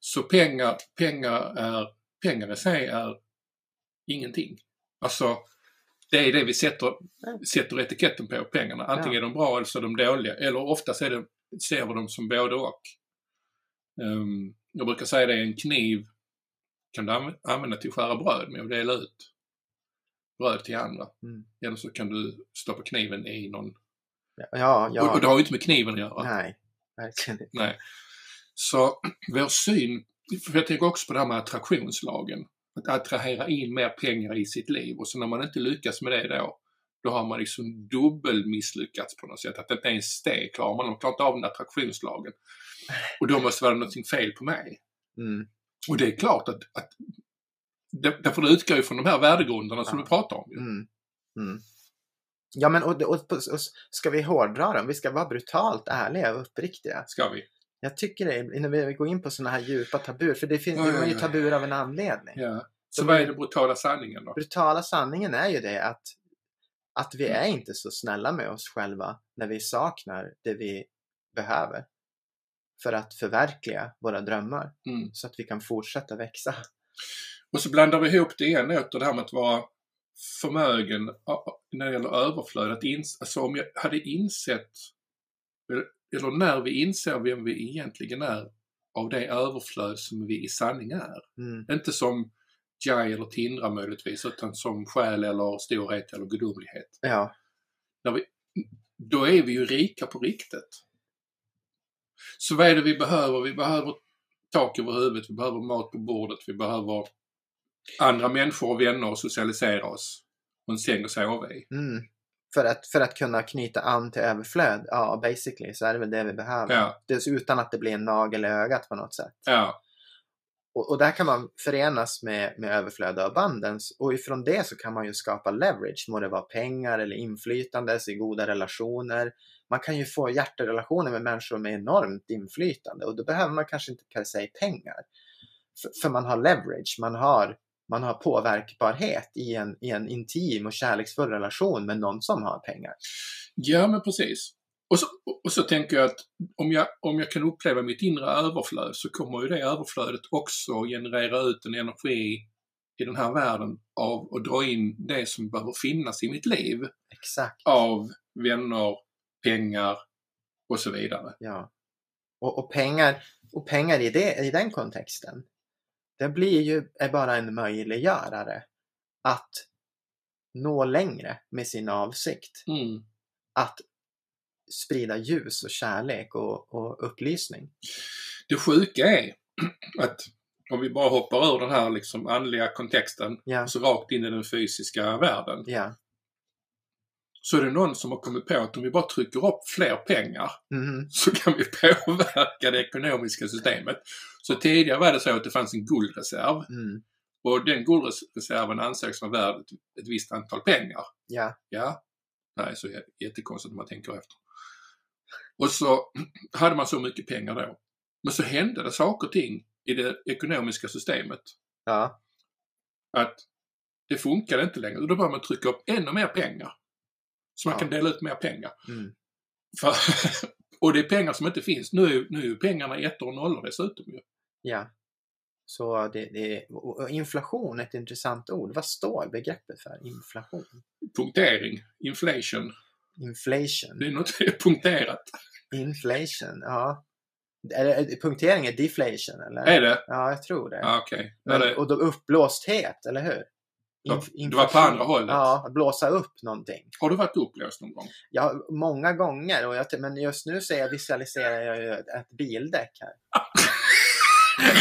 Speaker 2: Så pengar, pengar, är, pengar i sig är ingenting. Alltså, det är det vi sätter,
Speaker 1: Nej.
Speaker 2: sätter etiketten på pengarna. Antingen
Speaker 1: Ja.
Speaker 2: är de bra eller så är de dåliga. Eller oftast är det, ser vi dem som både och. Ehm, jag brukar säga det, en kniv kan du anv- använda till att skära bröd med och dela ut bröd till andra.
Speaker 1: Mm.
Speaker 2: Eller så kan du stoppa kniven i någon...
Speaker 1: Ja,
Speaker 2: Och, och det
Speaker 1: ja.
Speaker 2: har ju inte med kniven att göra.
Speaker 1: Nej, verkligen inte.
Speaker 2: Nej. Så vår syn, för jag tänker också på det här med attraktionslagen. Att attrahera in mer pengar i sitt liv och så när man inte lyckas med det då, då har man liksom dubbelmisslyckats på något sätt. Att inte ens det klarar man, man klarar inte av den attraktionslagen. Och då måste det vara någonting fel på mig.
Speaker 1: Mm,
Speaker 2: Och det är klart att, att där- därför det utgår ju från de här värdegrunderna som
Speaker 1: Ja.
Speaker 2: du pratar om. ju.
Speaker 1: mm, mm. Ja, men och, och, och, och ska vi hårdra dem? Vi ska vara brutalt ärliga och uppriktiga.
Speaker 2: Ska vi?
Speaker 1: Jag tycker det, innan vi går in på sådana här djupa tabur, för det finns
Speaker 2: Oj,
Speaker 1: det är
Speaker 2: oj,
Speaker 1: ju
Speaker 2: oj.
Speaker 1: tabur av en anledning.
Speaker 2: Ja. Så
Speaker 1: De-
Speaker 2: vad är den brutala sanningen då?
Speaker 1: Brutala sanningen är ju det att, att vi
Speaker 2: Mm.
Speaker 1: är inte så snälla med oss själva när vi saknar det vi behöver för att förverkliga våra drömmar
Speaker 2: Mm.
Speaker 1: så att vi kan fortsätta växa.
Speaker 2: Och så blandar vi ihop det igen åter, det här med att vara förmögen a- när det gäller överflöd. Att ins- alltså om jag hade insett, eller- eller när vi inser vem vi egentligen är av det överflöd som vi i sanning är.
Speaker 1: Mm.
Speaker 2: Inte som Jai eller Tindra möjligtvis, utan som själ eller storhet eller gudomlighet.
Speaker 1: Ja,
Speaker 2: Då är vi ju rika på riktigt. Så vad är det vi behöver? Vi behöver tak över huvudet, vi behöver mat på bordet, vi behöver andra människor och vänner och socialisera oss. Och en säng att sova i.
Speaker 1: mm. För, att, för att kunna knyta an till överflöd, ja basically så är det väl det vi behöver.
Speaker 2: Ja,
Speaker 1: Dels utan att det blir en nagel i ögat på något sätt.
Speaker 2: ja,
Speaker 1: Och, och där kan man förenas med, med överflöd och abundance och ifrån det så kan man ju skapa leverage, må det vara pengar eller inflytande, i goda relationer. Man kan ju få hjärterelationer med människor med enormt inflytande och då behöver man kanske inte per se pengar. För, för man har leverage, man har, man har påverkbarhet i en, i en intim och kärleksfull relation med någon som har pengar.
Speaker 2: ja men precis. Och så, och så tänker jag att om jag, om jag kan uppleva mitt inre överflöd så kommer ju det överflödet också generera ut en energi i den här världen av att dra in det som behöver finnas i mitt liv.
Speaker 1: Exakt.
Speaker 2: av vänner, pengar och så vidare.
Speaker 1: Ja. Och, och pengar, och pengar i, det, i den kontexten, det blir ju är bara en möjliggörare att nå längre med sin avsikt. Att sprida ljus och kärlek och, och upplysning.
Speaker 2: Det sjuka är att om vi bara hoppar ur den här liksom andliga kontexten
Speaker 1: Ja,
Speaker 2: och så rakt in i den fysiska världen
Speaker 1: ja.
Speaker 2: så är det någon som har kommit på att om vi bara trycker upp fler pengar
Speaker 1: Mhm.
Speaker 2: så kan vi påverka det ekonomiska systemet. Så tidigare var det så att det fanns en guldreserv
Speaker 1: Mm.
Speaker 2: och den guldreserven ansågs vara värd ett- ett visst antal pengar.
Speaker 1: Ja,
Speaker 2: Ja. Nej, så jä- jättekonstigt om man tänker efter. Och så hade man så mycket pengar då. Men så hände det saker och ting i det ekonomiska systemet.
Speaker 1: ja,
Speaker 2: Att det funkade inte längre. Och då började man trycka upp ännu mer pengar. Så man
Speaker 1: Ja.
Speaker 2: kan dela ut mer pengar.
Speaker 1: mm.
Speaker 2: För, och det är pengar som inte finns. Nu, är- nu är ju pengarna ettor och nollor dessutom ju.
Speaker 1: ja. Så det, det, och och inflation är ett intressant ord. Vad står begreppet för? Inflation?
Speaker 2: Punktering, inflation. Det
Speaker 1: Inflation?
Speaker 2: är något det är punkterat.
Speaker 1: Inflation, ja. Är det, punktering är deflation eller?
Speaker 2: Är det?
Speaker 1: Ja, jag tror det.
Speaker 2: Ja, okej. Ja,
Speaker 1: Men,
Speaker 2: det-
Speaker 1: Och då uppblåsthet, eller hur?
Speaker 2: Ja,
Speaker 1: Inf-
Speaker 2: det var på
Speaker 1: inflation.
Speaker 2: andra hållet.
Speaker 1: Ja, att blåsa upp någonting.
Speaker 2: Har du varit uppblåst någon gång?
Speaker 1: Ja, många gånger, och jag, ty- men just nu så jag visualiserar jag ju ett bildäck här.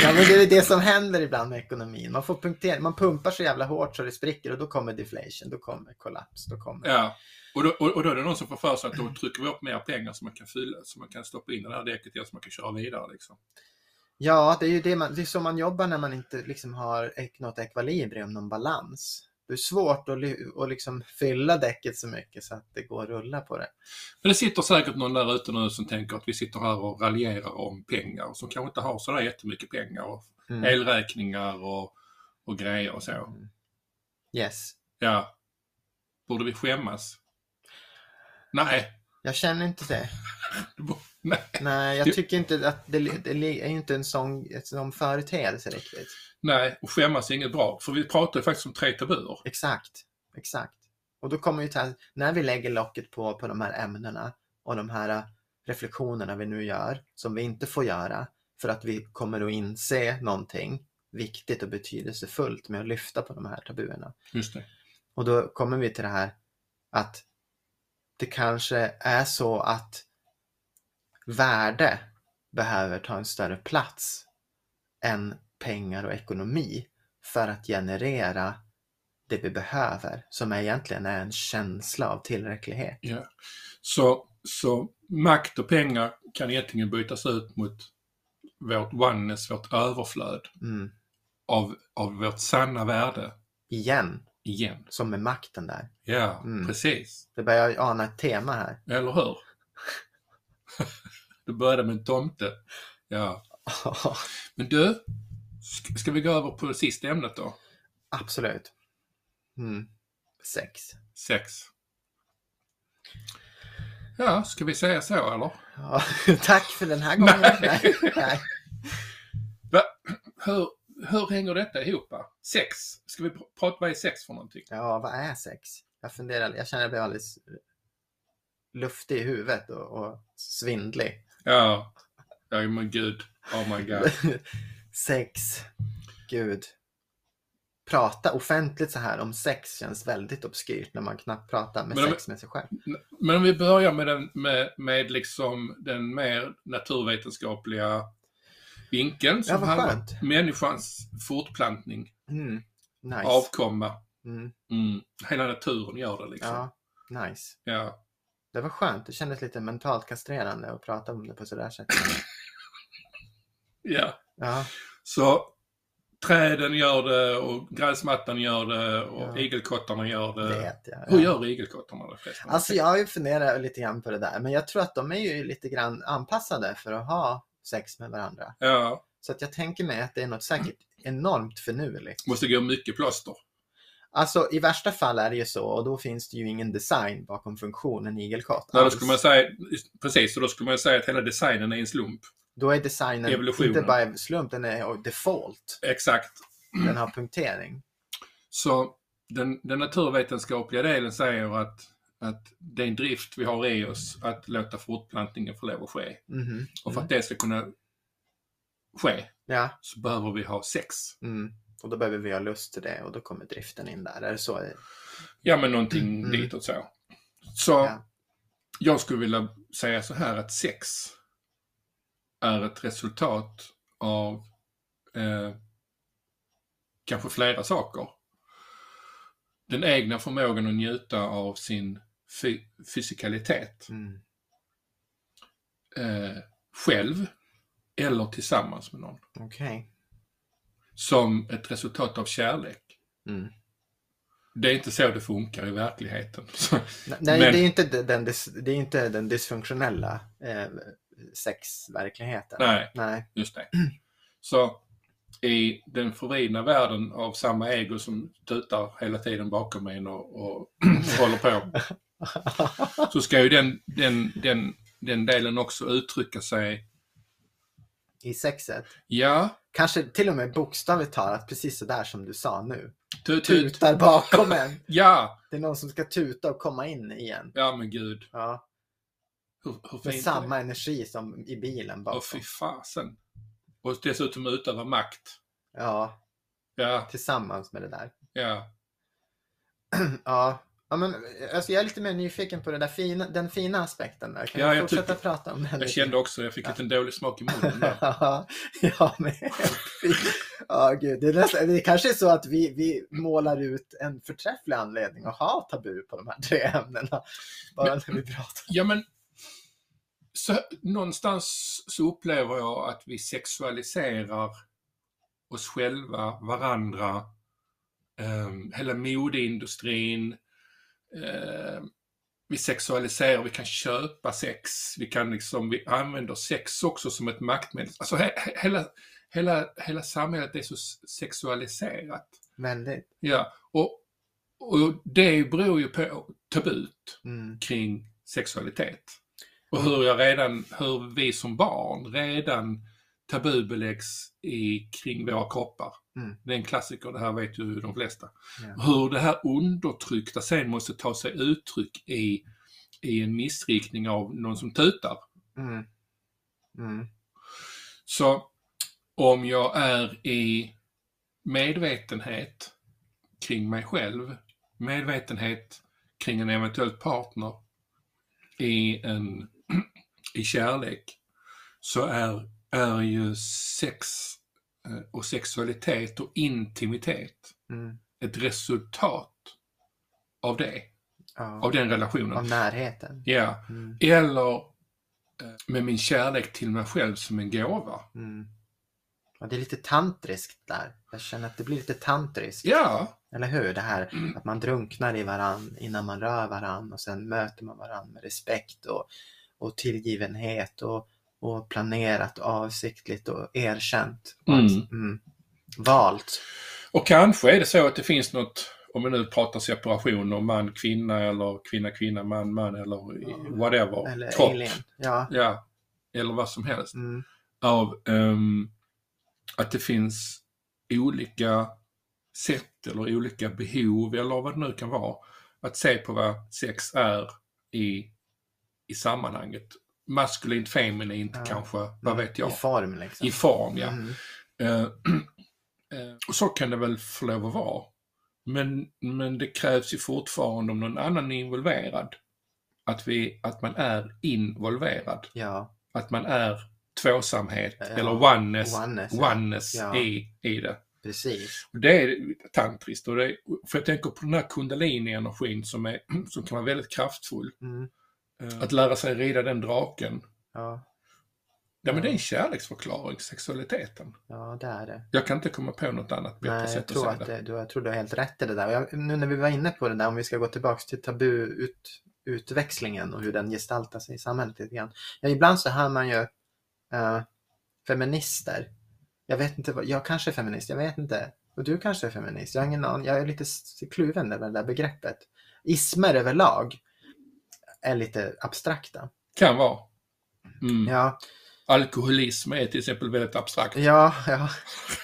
Speaker 1: Ja, men det är ju det som händer ibland med ekonomin. Man, får punktera, man pumpar så jävla hårt så det spricker och då kommer deflation, då kommer kollaps, då kommer...
Speaker 2: Ja, och då, och, och då är det någon som får för sig att då trycker vi upp mer pengar så man kan fylla, så man kan stoppa in det här däcket igen så man kan köra vidare liksom.
Speaker 1: Ja, det är ju det man, det är så man jobbar när man inte liksom har ek- något ekvilibrium, någon balans. Det är svårt att, ly- att liksom fylla däcket så mycket så att det går att rulla på det.
Speaker 2: Men det sitter säkert någon där ute nu som tänker att vi sitter här och raljerar om pengar och som kanske inte har sådär jättemycket pengar och
Speaker 1: Mm.
Speaker 2: elräkningar och, och grejer och så.
Speaker 1: Yes.
Speaker 2: Ja. Borde vi skämmas? Nej.
Speaker 1: Jag känner inte det.
Speaker 2: Det bo- Nej.
Speaker 1: Nej,
Speaker 2: Jo.
Speaker 1: jag tycker inte att det, li- det li- är ju inte en sån, en sån företeelse riktigt.
Speaker 2: Nej, och skämmas är inget bra. För vi pratar ju faktiskt om tre tabuer.
Speaker 1: Exakt, exakt. Och då kommer ju det här, när vi lägger locket på, på de här ämnena och de här äh, reflektionerna vi nu gör, som vi inte får göra, för att vi kommer att inse någonting viktigt och betydelsefullt med att lyfta på de här tabuerna.
Speaker 2: Just det.
Speaker 1: Och då kommer vi till det här att det kanske är så att värde behöver ta en större plats än pengar och ekonomi för att generera det vi behöver som egentligen är en känsla av tillräcklighet.
Speaker 2: Ja. Så, så makt och pengar kan egentligen bytas ut mot vårt oneness, vårt överflöd
Speaker 1: Mm.
Speaker 2: av, av vårt sanna värde
Speaker 1: Igen,
Speaker 2: igen.
Speaker 1: som med makten där.
Speaker 2: Ja,
Speaker 1: Mm.
Speaker 2: precis.
Speaker 1: Det börjar jag ana ett tema här.
Speaker 2: Eller hur? Du började med en tomte. Ja. Men du, sk- ska vi gå över på det sista ämnet då?
Speaker 1: Absolut. Mm. Sex.
Speaker 2: Sex. Ja, ska vi säga så eller?
Speaker 1: Ja, tack för den här gången.
Speaker 2: Nej.
Speaker 1: Nej.
Speaker 2: Hur, hur hänger detta ihop? va? Sex. Ska vi pr- prata, vad är sex för någonting?
Speaker 1: Ja, vad är sex? Jag funderar, jag känner att jag blir alldeles luftig i huvudet och, och svindlig.
Speaker 2: Ja. Ja men gud. Oh my god.
Speaker 1: sex, gud. Prata offentligt så här om sex känns väldigt obskyrt när man knappt pratar med
Speaker 2: Men-
Speaker 1: sex med sig själv.
Speaker 2: Men om vi börjar med den, med, med liksom den mer naturvetenskapliga vinkeln som
Speaker 1: Ja, vad
Speaker 2: handlar om
Speaker 1: skönt.
Speaker 2: människans fortplantning,
Speaker 1: Mm. Nice.
Speaker 2: avkomma.
Speaker 1: Mm.
Speaker 2: Mm. Hela naturen gör det liksom. Ja.
Speaker 1: Ja, nice. Det var skönt. Det kändes lite mentalt kastrerande att prata om det på sådär sätt.
Speaker 2: ja.
Speaker 1: Ja,
Speaker 2: Så träden gör det och gräsmattan gör det
Speaker 1: Ja.
Speaker 2: och igelkottarna gör det.
Speaker 1: vet jag.
Speaker 2: Eh, Hur gör igelkottarna det förresten?
Speaker 1: Alltså jag har ju funderat lite grann på det där, men jag tror att de är ju lite grann anpassade för att ha sex med varandra.
Speaker 2: Ja,
Speaker 1: Så att jag tänker mig att det är något säkert enormt finurligt.
Speaker 2: måste gå mycket plåster.
Speaker 1: Alltså i värsta fall är det ju så och då finns det ju ingen design bakom funktionen igelkott.
Speaker 2: Nej, då
Speaker 1: alls.
Speaker 2: skulle man säga, precis, så då skulle man säga att hela designen är en slump.
Speaker 1: Då är designen
Speaker 2: Evolutionen.
Speaker 1: inte bara en slump, den är default.
Speaker 2: Exakt.
Speaker 1: Den har punktering.
Speaker 2: Så den, den naturvetenskapliga delen säger att, att det är en drift vi har i oss att låta fortplantningen få lov att ske.
Speaker 1: Mhm.
Speaker 2: Och för att det ska kunna ske
Speaker 1: Ja.
Speaker 2: så behöver vi ha sex.
Speaker 1: Mm. Och då behöver vi ha lust till det och då kommer driften in där. Är det så?
Speaker 2: Ja, men någonting
Speaker 1: Mm.
Speaker 2: ditåt så. Så
Speaker 1: Ja.
Speaker 2: jag skulle vilja säga så här att sex är ett resultat av eh, kanske flera saker. Den egna förmågan att njuta av sin fy- fysikalitet
Speaker 1: Mm.
Speaker 2: eh, själv eller tillsammans med någon.
Speaker 1: Okej.
Speaker 2: Som ett resultat av kärlek.
Speaker 1: Mm.
Speaker 2: Det är inte så det funkar i verkligheten. Så,
Speaker 1: Nej, nej,
Speaker 2: Men-
Speaker 1: det, är inte de- den, dis- det är inte den dysfunktionella eh, sexverkligheten.
Speaker 2: nej.
Speaker 1: Nej.
Speaker 2: Just det. Så i den förvridna världen av samma ego som tutar hela tiden bakom en och, och håller på, så ska ju den, den, den, den delen också uttrycka sig,
Speaker 1: I sexet.
Speaker 2: ja,
Speaker 1: Kanske till och med bokstavligt talat, precis så där som du sa nu.
Speaker 2: tut, tut,
Speaker 1: Tutar bakom en.
Speaker 2: ja,
Speaker 1: Det är någon som ska tuta och komma in igen.
Speaker 2: ja men gud,
Speaker 1: Ja,
Speaker 2: hur, hur fint
Speaker 1: med
Speaker 2: är det?
Speaker 1: samma energi som i bilen
Speaker 2: Åh,
Speaker 1: bakom.
Speaker 2: fy fasen. Och dessutom utöva makt.
Speaker 1: Ja,
Speaker 2: Ja,
Speaker 1: tillsammans med det där.
Speaker 2: ja,
Speaker 1: Ja, ja men, alltså jag är lite mer nyfiken på det där fina, den fina aspekten där. Kan
Speaker 2: Ja,
Speaker 1: vi
Speaker 2: jag
Speaker 1: fortsätta
Speaker 2: tycker-
Speaker 1: prata om den?
Speaker 2: jag
Speaker 1: lite?
Speaker 2: kände också, jag fick lite en dålig smak i munnen där.
Speaker 1: Ja, ja, men ja, gud. Det, är nästan, det kanske är så att vi, vi målar ut en förträfflig anledning att ha tabu på de här tre ämnena. Bara när vi pratar.
Speaker 2: Ja, men så, någonstans så upplever jag att vi sexualiserar oss själva, varandra, ehm, hela modeindustrin. ehm, vi sexualiserar, vi kan köpa sex, vi kan liksom, vi använder sex också som ett maktmedel. Alltså he, he- hela, hela, hela samhället är så s- sexualiserat.
Speaker 1: Väldigt.
Speaker 2: Ja, och, och det beror ju på tabut
Speaker 1: Mm.
Speaker 2: kring sexualitet. Och hur, jag redan, hur vi som barn redan tabubeläggs i, kring våra kroppar.
Speaker 1: Mm.
Speaker 2: Det är en klassiker, det här vet ju de flesta.
Speaker 1: Ja.
Speaker 2: Hur det här undertryckta sen måste ta sig uttryck i, i en missriktning av någon som tutar.
Speaker 1: Mm. Mm.
Speaker 2: Så om jag är i medvetenhet kring mig själv, medvetenhet kring en eventuell partner i, en, i kärlek, så är, är ju sex eh, och sexualitet och intimitet
Speaker 1: Mm.
Speaker 2: ett resultat av det, av
Speaker 1: Ja.
Speaker 2: den relationen.
Speaker 1: Av närheten.
Speaker 2: Ja.
Speaker 1: Mm.
Speaker 2: Eller eh, med min kärlek till mig själv som en gåva.
Speaker 1: Mm. Ja, det är lite tantriskt där. Jag känner att det blir lite tantriskt.
Speaker 2: Ja,
Speaker 1: Eller hur? Det här
Speaker 2: Mm.
Speaker 1: att man drunknar i varann innan man rör varann och sen möter man varann med respekt och, och tillgivenhet och och planerat avsiktligt och erkänt.
Speaker 2: Mm.
Speaker 1: Mm. Valt.
Speaker 2: Och kanske är det så att det finns något, om vi nu pratar separation och man, kvinna eller kvinna, kvinna, man, man eller i- whatever.
Speaker 1: Eller
Speaker 2: kropp.
Speaker 1: alien. Ja.
Speaker 2: Ja, eller vad som helst.
Speaker 1: Mm.
Speaker 2: Av ehm, att det finns olika sätt eller olika behov eller vad det nu kan vara. Att se på vad sex är i, i sammanhanget. Maskulint, feminint
Speaker 1: Ja. Mm.
Speaker 2: kanske, vad vet jag.
Speaker 1: I form liksom.
Speaker 2: I form, ja.
Speaker 1: Mm.
Speaker 2: Eh, eh, Och så kan det väl få lov att vara. Men, men det krävs ju fortfarande om någon annan är involverad. Att, vi, att man är involverad.
Speaker 1: Ja.
Speaker 2: Att man är tvåsamhet
Speaker 1: Ja.
Speaker 2: eller oneness,
Speaker 1: Oneness. ja.
Speaker 2: oneness
Speaker 1: Ja.
Speaker 2: i, i det.
Speaker 1: Precis.
Speaker 2: Och det är tantriskt. Och det, är- för jag tänker på den här kundalini-energin som, är, som kan vara väldigt kraftfull.
Speaker 1: Mm.
Speaker 2: Eh, Att lära sig rida den draken.
Speaker 1: Ja.
Speaker 2: Ja, men det är
Speaker 1: Ja.
Speaker 2: en kärleksförklaring till sexualiteten.
Speaker 1: ja, det är det.
Speaker 2: Jag kan inte komma på något annat bättre
Speaker 1: Nej, jag
Speaker 2: sätt
Speaker 1: tror,
Speaker 2: att
Speaker 1: att
Speaker 2: säga det.
Speaker 1: det, du, jag tror du har helt rätt i det där. Och Jag, nu när vi var inne på det där, om vi ska gå tillbaka till tabuutväxlingen och hur den gestaltar sig i samhället lite grann. Ja, ibland så hör man ju eh, feminister. Jag vet inte, vad, jag kanske är feminist, jag vet inte. Och du kanske är feminist, jag har ingen aning. Jag är lite s- kluven över det där begreppet. Ismer överlag är lite abstrakta.
Speaker 2: Kan vara. Mm.
Speaker 1: Ja,
Speaker 2: Alkoholism är till exempel väldigt abstrakt.
Speaker 1: ja, ja,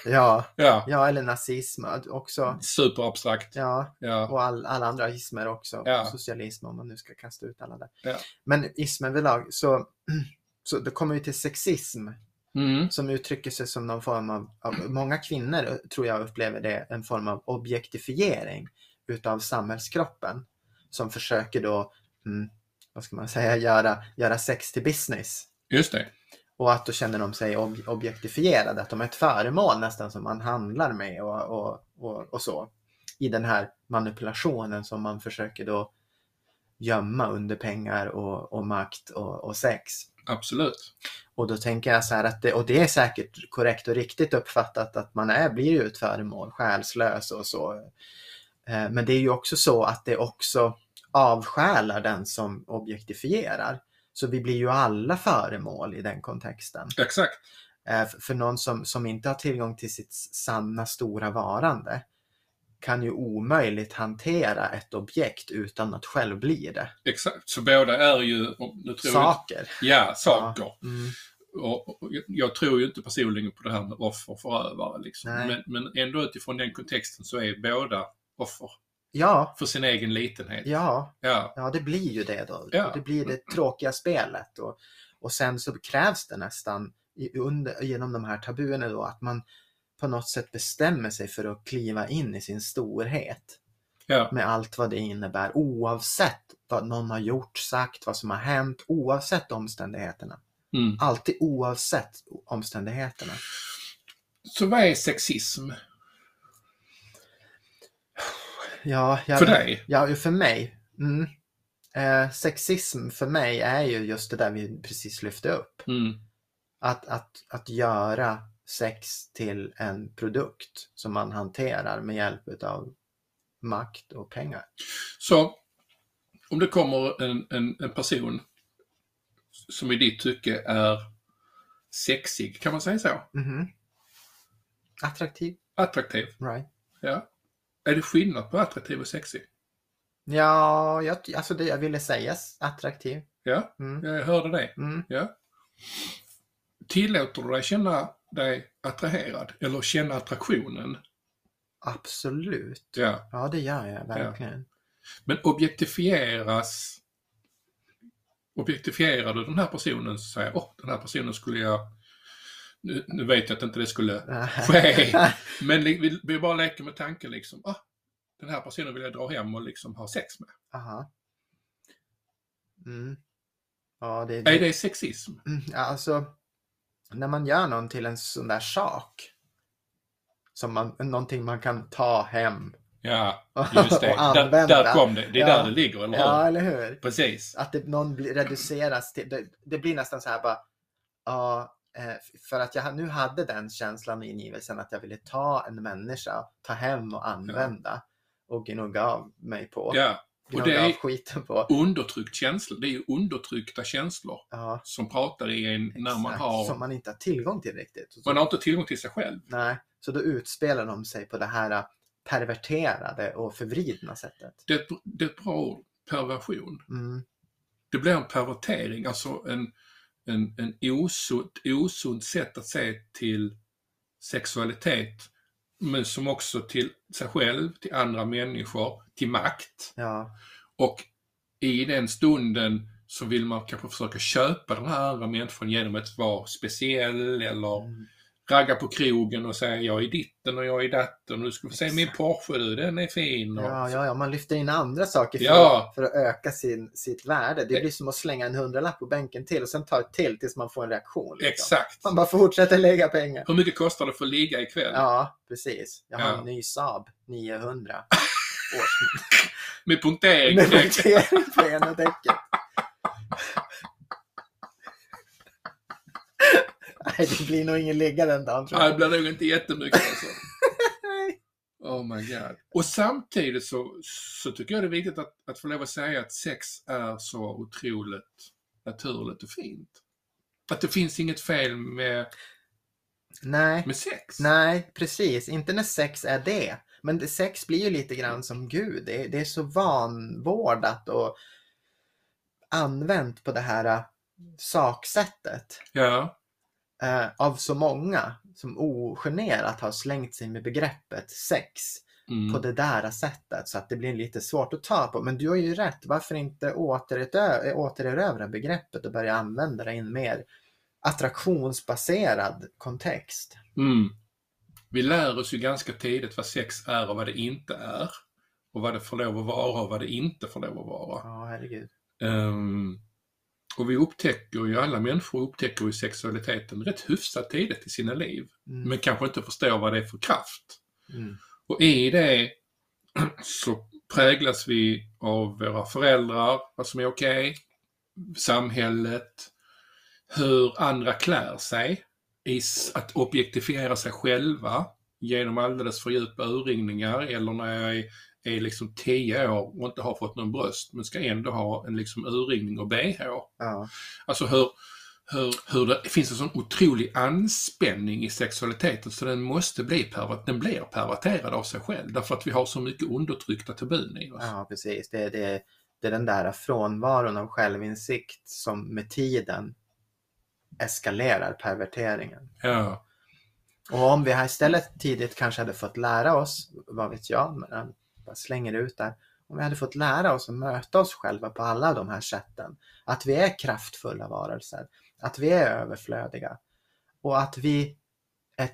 Speaker 1: ja,
Speaker 2: Ja,
Speaker 1: ja eller nazism också.
Speaker 2: superabstrakt.
Speaker 1: Ja,
Speaker 2: Ja.
Speaker 1: Och all, alla andra ismer också.
Speaker 2: Ja.
Speaker 1: Socialism om man nu ska kasta ut alla där.
Speaker 2: Ja.
Speaker 1: Men ismen överlag så, så då kommer vi till sexism
Speaker 2: Mm.
Speaker 1: som uttrycker sig som någon form av, av många kvinnor eh, tror jag upplever det, en form av objektifiering utav samhällskroppen som försöker då, mm, vad ska man säga, göra, göra sex till business.
Speaker 2: Just det.
Speaker 1: Och att då känner de sig ob- objektifierade, att de är ett föremål nästan som man handlar med och, och, och, och så. I den här manipulationen som man försöker då gömma under pengar och, och makt och, och sex.
Speaker 2: Absolut.
Speaker 1: Och då tänker jag så här att det, och det är säkert korrekt och riktigt uppfattat att man är, blir ju ett föremål, själslös och så. Eh, Men det är ju också så att det också avsjälar den som objektifierar. Så vi blir ju alla föremål i den kontexten.
Speaker 2: Exakt.
Speaker 1: Eh, f- För någon som, som inte har tillgång till sitt s- sanna stora varande kan ju omöjligt hantera ett objekt utan att själv bli det.
Speaker 2: Exakt. Så båda är ju... om- Nu tror jag,
Speaker 1: Saker.
Speaker 2: ja, saker.
Speaker 1: Mm.
Speaker 2: Och, och, jag- jag tror ju inte personligen på det här med offer och förövare. Liksom.
Speaker 1: Nej.
Speaker 2: Men, men ändå utifrån den kontexten så är båda offer
Speaker 1: Ja,
Speaker 2: för sin egen litenhet.
Speaker 1: ja.
Speaker 2: Ja.
Speaker 1: Ja, det blir ju det då.
Speaker 2: Ja.
Speaker 1: Det blir det tråkiga spelet. Och, och sen så krävs det nästan i, under, genom de här tabuerna då att man på något sätt bestämmer sig för att kliva in i sin storhet
Speaker 2: Ja.
Speaker 1: med allt vad det innebär oavsett vad någon har gjort, sagt, vad som har hänt, oavsett omständigheterna.
Speaker 2: Mm.
Speaker 1: Alltid oavsett omständigheterna.
Speaker 2: Så vad är sexism
Speaker 1: Ja, jag,
Speaker 2: för dig?
Speaker 1: Ja, ju för mig. Mm. Eh, sexism för mig är ju just det där vi precis lyfte upp.
Speaker 2: Mm.
Speaker 1: att, att, att göra sex till en produkt som man hanterar med hjälp av makt och pengar.
Speaker 2: Så om det kommer en, en, en person som i ditt tycke är sexig, kan man säga så?
Speaker 1: Mhm. Attraktiv,
Speaker 2: Attraktiv.
Speaker 1: right?
Speaker 2: Ja. Är det skillnad på attraktiv och sexig?
Speaker 1: Ja, jag, alltså det jag ville säga, s- attraktiv.
Speaker 2: Ja,
Speaker 1: Mm.
Speaker 2: jag hörde det.
Speaker 1: Mm.
Speaker 2: Ja. Tillåter du dig känna dig attraherad eller känna attraktionen?
Speaker 1: Absolut.
Speaker 2: Ja.
Speaker 1: Ja, det gör jag verkligen.
Speaker 2: Men objektifieras objektifierar du den här personen så säger jag, åh, den här personen skulle jag... Nu, nu vet jag att inte det skulle ske. Men li- vi, vi bara leker med tanken liksom, ah, den här personen vill jag dra hem och liksom ha sex med.
Speaker 1: Aha. Mm. Ja, det,
Speaker 2: Är det sexism?
Speaker 1: Mm, ja, alltså, när man gör någon till en sån där sak, som man, någonting man kan ta hem
Speaker 2: Ja,
Speaker 1: och,
Speaker 2: just det.
Speaker 1: och
Speaker 2: där,
Speaker 1: använda.
Speaker 2: där kom det. Det är
Speaker 1: Ja.
Speaker 2: där det ligger, eller hur?
Speaker 1: ja, eller hur?
Speaker 2: Precis.
Speaker 1: Att det, någon blir- reduceras till, det, det blir nästan så här bara, ja, eh, för att jag ha- nu hade den känslan och ingivelsen att jag ville ta en människa, ta hem och använda och gnugga av mig på.
Speaker 2: Ja, Och
Speaker 1: gnugga
Speaker 2: det är-
Speaker 1: av skiten på.
Speaker 2: Undertryckt känslor, det är ju undertryckta känslor
Speaker 1: Ja,
Speaker 2: som pratar i en när man
Speaker 1: exakt. Som
Speaker 2: har...
Speaker 1: man inte har tillgång till riktigt. Så,
Speaker 2: Man har inte tillgång till sig själv.
Speaker 1: Nej, så då utspelar de sig på det här eh, perverterade och förvridna sättet.
Speaker 2: Det, är ett- det är ett bra ord, perversion.
Speaker 1: Mm,
Speaker 2: Det blir en pervertering, alltså en, en, en osunt, osunt sätt att se till sexualitet, men som också till sig själv, till andra människor, till makt.
Speaker 1: ja,
Speaker 2: Och i den stunden så vill man kanske försöka köpa den här andra människan genom att vara speciell eller
Speaker 1: mm,
Speaker 2: ragga på krogen och säga jag är ditten och jag är datten och du ska få se min Porsche du, den är fin. Och...
Speaker 1: ja, ja, ja, man lyfter in andra saker för,
Speaker 2: Ja.
Speaker 1: att, för att öka sin, sitt värde. Det
Speaker 2: E-
Speaker 1: blir som att slänga en hundralapp på bänken till och sen ta ett till tills man får en reaktion. liksom.
Speaker 2: Exakt.
Speaker 1: Man bara fortsätter lägga pengar.
Speaker 2: Hur mycket kostar det för att ligga ikväll?
Speaker 1: Ja, precis. Jag har
Speaker 2: Ja.
Speaker 1: en ny Saab 900.
Speaker 2: Med punktering.
Speaker 1: Med punktering på ena däcket. Nej, det blir nog ingen ligga den dagen tror
Speaker 2: Ja, det
Speaker 1: jag.
Speaker 2: blir nog inte jättemycket alltså.
Speaker 1: Nej.
Speaker 2: Oh my god. Och samtidigt så, så tycker jag det är viktigt att, att få lov att säga att sex är så otroligt naturligt och fint. Att det finns inget fel med,
Speaker 1: Nej,
Speaker 2: med sex.
Speaker 1: nej, precis. Inte när sex är det. Men det- sex blir ju lite grann som Gud. Det är, det är så vanvårdat och använt på det här äh, saksättet.
Speaker 2: Ja,
Speaker 1: eh, av så många som ogenerat har slängt sig med begreppet sex
Speaker 2: mm.
Speaker 1: på det där sättet så att det blir lite svårt att ta på. Men du har ju rätt, varför inte återerövra, återerövra begreppet och börja använda det i en mer attraktionsbaserad kontext?
Speaker 2: Mm. Vi lär oss ju ganska tidigt vad sex är och vad det inte är. Och vad det får lov att vara och vad det inte får lov att vara.
Speaker 1: Ja, herregud.
Speaker 2: Ehm, och vi upptäcker ju, alla människor upptäcker ju sexualiteten rätt hyfsat tidigt i sina liv.
Speaker 1: Mm.
Speaker 2: Men kanske inte förstår vad det är för kraft.
Speaker 1: Mm.
Speaker 2: Och i det så präglas vi av våra föräldrar, vad som är okej, samhället, hur andra klär sig, i s- att objektifiera sig själva genom alldeles för djupa urringningar eller när jag är, är liksom 10 år och inte har fått någon bröst men ska ändå ha en liksom urringning och bh.
Speaker 1: Ja.
Speaker 2: Alltså hur, hur, hur det finns en sån otrolig anspänning i sexualiteten så den måste bli pervert, den blir perverterad av sig själv därför att vi har så mycket undertryckta tabun i oss.
Speaker 1: ja, precis. Det, det, det är den där frånvaron av självinsikt som med tiden eskalerar perverteringen.
Speaker 2: Ja.
Speaker 1: Och om vi här istället tidigt kanske hade fått lära oss, vad vet jag, men jag bara slänger ut där. Om vi hade fått lära oss att möta oss själva på alla de här sätten. Att vi är kraftfulla varelser. Att vi är överflödiga. Och att vi är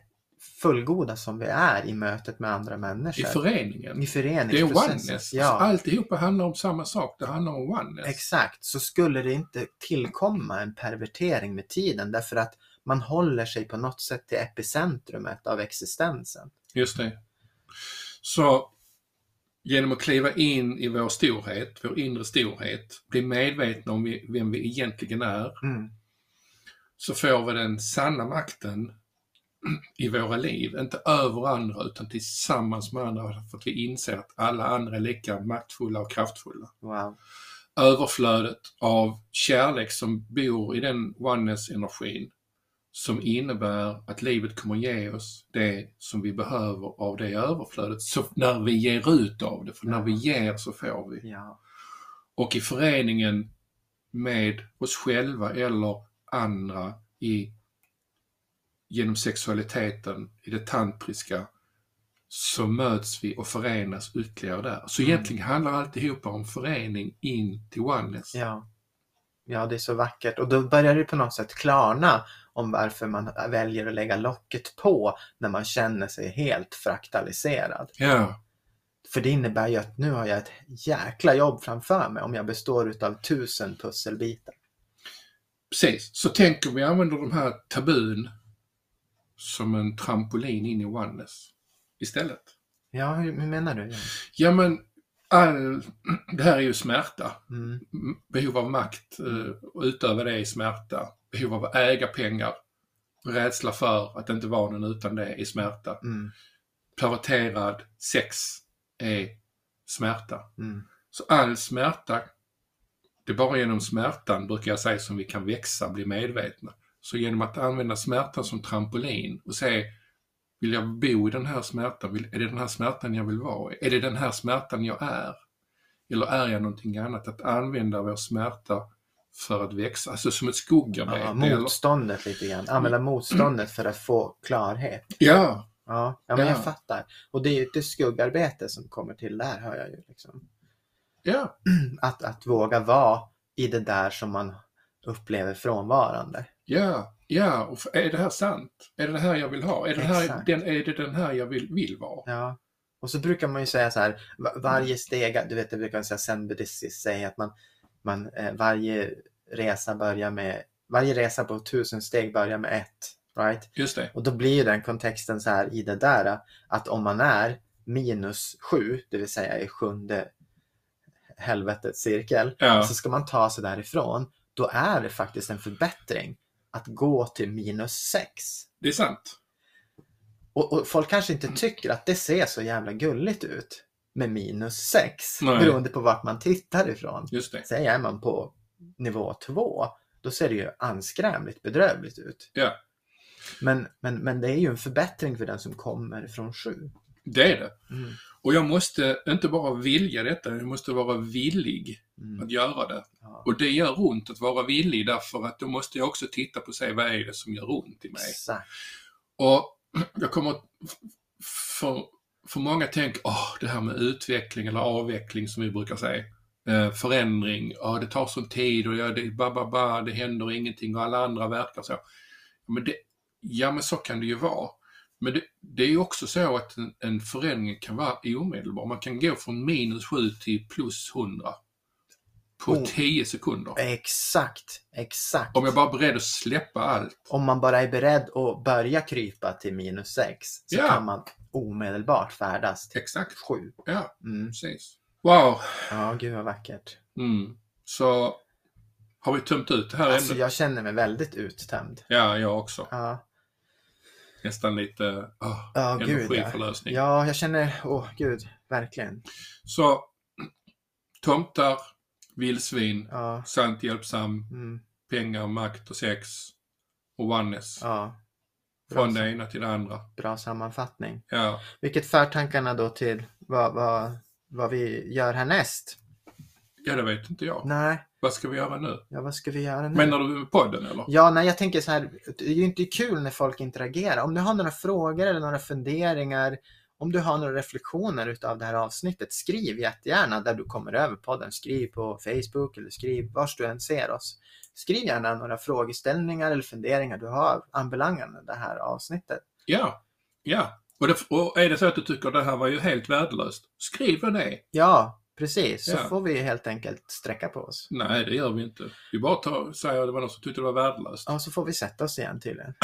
Speaker 1: fullgoda som vi är i mötet med andra
Speaker 2: I
Speaker 1: människor.
Speaker 2: föreningen.
Speaker 1: I
Speaker 2: Det är
Speaker 1: föreningsprocessen.
Speaker 2: oneness.
Speaker 1: Ja,
Speaker 2: Alltså, alltihopa handlar om samma sak, det handlar om oneness.
Speaker 1: exakt. Så skulle det inte tillkomma en pervertering med tiden. Därför att man håller sig på något sätt till epicentrumet av existensen.
Speaker 2: Just det. Så genom att kliva in i vår storhet, vår inre storhet, bli medvetna om vi- vem vi egentligen är,
Speaker 1: Mm.
Speaker 2: så får vi den sanna makten i våra liv, inte över andra utan tillsammans med andra för att vi inser att alla andra är lika maktfulla och kraftfulla.
Speaker 1: Wow.
Speaker 2: Överflödet av kärlek som bor i den oneness-energin som innebär att livet kommer ge oss det som vi behöver av det överflödet så när vi ger ut av det, för när vi ger så får vi
Speaker 1: Ja.
Speaker 2: och i föreningen med oss själva eller andra i, genom sexualiteten, i det tantriska, så möts vi och förenas ytterligare där. Så
Speaker 1: Mm.
Speaker 2: egentligen handlar alltihopa om förening in till oneness.
Speaker 1: ja. Ja, det är så vackert. Och då börjar det på något sätt klarna om varför man väljer att lägga locket på när man känner sig helt fraktaliserad.
Speaker 2: Ja,
Speaker 1: För det innebär ju att nu har jag ett jäkla jobb framför mig om jag består utav tusen pusselbitar.
Speaker 2: precis. Så tänk om vi använder de här tabun som en trampolin in i oneness istället.
Speaker 1: Ja, hur, hur menar du?
Speaker 2: Ja, men all, det här är ju smärta.
Speaker 1: Mm,
Speaker 2: M- behov av makt eh, och utöva det i smärta, behov av att äga pengar, rädsla för att inte vara någon utan det i smärta.
Speaker 1: mm,
Speaker 2: Perverterad sex är smärta.
Speaker 1: mm.
Speaker 2: Så all smärta, det är bara genom smärtan, brukar jag säga, som vi kan växa, bli medvetna. Så genom att använda smärtan som trampolin och se, vill jag bo i den här smärtan? Vill, är det den här smärtan jag vill vara i? Är det den här smärtan jag är? Eller är jag någonting annat? Att använda vår smärta för att växa, alltså som ett skuggarbete.
Speaker 1: Ja,
Speaker 2: eller-
Speaker 1: motståndet lite grann. Använda motståndet för att få klarhet.
Speaker 2: ja,
Speaker 1: Ja, ja men
Speaker 2: Ja.
Speaker 1: jag fattar. Och det är ju inte skuggarbete som kommer till där, hör jag ju. Liksom.
Speaker 2: Ja,
Speaker 1: Att, att våga vara i det där som man upplever frånvarande.
Speaker 2: ja, ja. Och f- är det här sant? Är det det här jag vill ha? Är det, här,
Speaker 1: Exakt.
Speaker 2: den, är det den här jag vill, vill vara?
Speaker 1: Ja. Och så brukar man ju säga så här, va- varje steg, du vet det brukar man säga zen buddhistiskt säga att man, man eh, varje resa börjar med, varje resa på tusen steg börjar med ett, right?
Speaker 2: Just det.
Speaker 1: Och då blir ju den kontexten så här i det där att om man är minus sju, det vill säga i sjunde helvetets cirkel,
Speaker 2: Ja,
Speaker 1: så ska man ta sig därifrån. Då är det faktiskt en förbättring att gå till minus sex.
Speaker 2: det är sant.
Speaker 1: Och, och folk kanske inte
Speaker 2: Mm.
Speaker 1: tycker att det ser så jävla gulligt ut med minus sex,
Speaker 2: Nej.
Speaker 1: beroende på vart man tittar ifrån.
Speaker 2: Just det.
Speaker 1: Säg är man på nivå två, då ser det ju anskrämligt bedrövligt ut.
Speaker 2: Ja.
Speaker 1: Men, men, men det är ju en förbättring för den som kommer från sju.
Speaker 2: Det är det.
Speaker 1: Mm.
Speaker 2: Och jag måste inte bara vilja detta, jag måste vara villig
Speaker 1: Mm.
Speaker 2: att göra det.
Speaker 1: Ja,
Speaker 2: Och det gör ont att vara villig därför att då måste jag också titta på och se vad är det som gör ont i mig.
Speaker 1: exakt.
Speaker 2: Och jag kommer att- för, för många tänker, åh, det här med utveckling eller avveckling som vi brukar säga. Eh, förändring, ja det tar sån tid och ja, det, ba, ba, ba, det händer ingenting och alla andra verkar så. Men det, ja, men så kan det ju vara. Men det, det är ju också så att en, en förändring kan vara omedelbar. Man kan gå från minus 7 till plus 100 på
Speaker 1: Oh.
Speaker 2: 10 sekunder.
Speaker 1: Exakt, exakt.
Speaker 2: Om jag bara är beredd att släppa allt.
Speaker 1: Om man bara är beredd att börja krypa till minus sex så
Speaker 2: Ja.
Speaker 1: kan man omedelbart färdas till
Speaker 2: Exakt,
Speaker 1: sju.
Speaker 2: ja,
Speaker 1: Mm.
Speaker 2: precis. Wow,
Speaker 1: Ja, gud vad vackert.
Speaker 2: Mm. Så har vi tömt ut det här
Speaker 1: Alltså
Speaker 2: ämnet?
Speaker 1: jag känner mig väldigt uttömd.
Speaker 2: Ja, jag också.
Speaker 1: Ja,
Speaker 2: Nästan lite ah,
Speaker 1: Ja, gud,
Speaker 2: energiförlösning.
Speaker 1: ja jag känner, åh gud, verkligen.
Speaker 2: Så tomtar, vildsvin,
Speaker 1: Ja,
Speaker 2: sant, hjälpsam,
Speaker 1: mm,
Speaker 2: pengar, makt och sex och oneness.
Speaker 1: ja. Bra,
Speaker 2: Från det ena till det andra.
Speaker 1: bra sammanfattning.
Speaker 2: Ja,
Speaker 1: Vilket för tankarna då till vad, vad, vad vi gör härnäst.
Speaker 2: ja det vet inte jag.
Speaker 1: Nej,
Speaker 2: Vad ska vi göra nu?
Speaker 1: ja, vad ska vi göra nu?
Speaker 2: Menar du med podden eller?
Speaker 1: Ja, nej, jag tänker så här, det är ju inte kul när folk interagerar. Om du har några frågor eller några funderingar, om du har några reflektioner utav det här avsnittet, skriv jättegärna där du kommer över podden. Skriv på Facebook eller skriv vars du än ser oss. Skriv gärna några frågeställningar eller funderingar du har anbelangande det här avsnittet.
Speaker 2: Ja, ja. Och, det, och är det så att du tycker det här var ju helt värdelöst, skriv då det.
Speaker 1: Ja, precis. Så
Speaker 2: Ja.
Speaker 1: får vi helt enkelt sträcka på oss.
Speaker 2: Nej, det gör vi inte. Vi bara tar, säger att det var någon som tyckte det var värdelöst.
Speaker 1: Ja, så får vi sätta oss igen tydligen.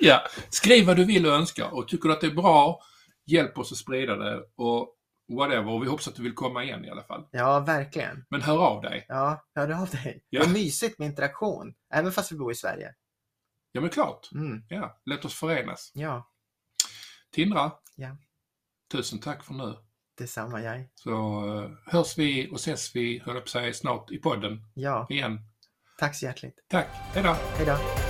Speaker 2: Ja, skriv vad du vill och önskar och tycker du att det är bra, hjälp oss att sprida det och whatever. Och vi hoppas att du vill komma igen i alla fall.
Speaker 1: Ja, verkligen.
Speaker 2: Men hör av dig.
Speaker 1: Ja, hör av dig.
Speaker 2: Ja.
Speaker 1: Vad mysigt med interaktion, även fast vi bor i Sverige.
Speaker 2: Ja, men klart.
Speaker 1: Mm,
Speaker 2: Ja, låt oss förenas.
Speaker 1: ja.
Speaker 2: Tindra,
Speaker 1: Ja.
Speaker 2: tusen tack för nu.
Speaker 1: Detsamma jag.
Speaker 2: Så eh, hörs vi och ses vi, höll jag på att säga, snart i podden
Speaker 1: Ja,
Speaker 2: igen.
Speaker 1: tack så hjärtligt.
Speaker 2: Tack, hejdå!
Speaker 1: Hej då.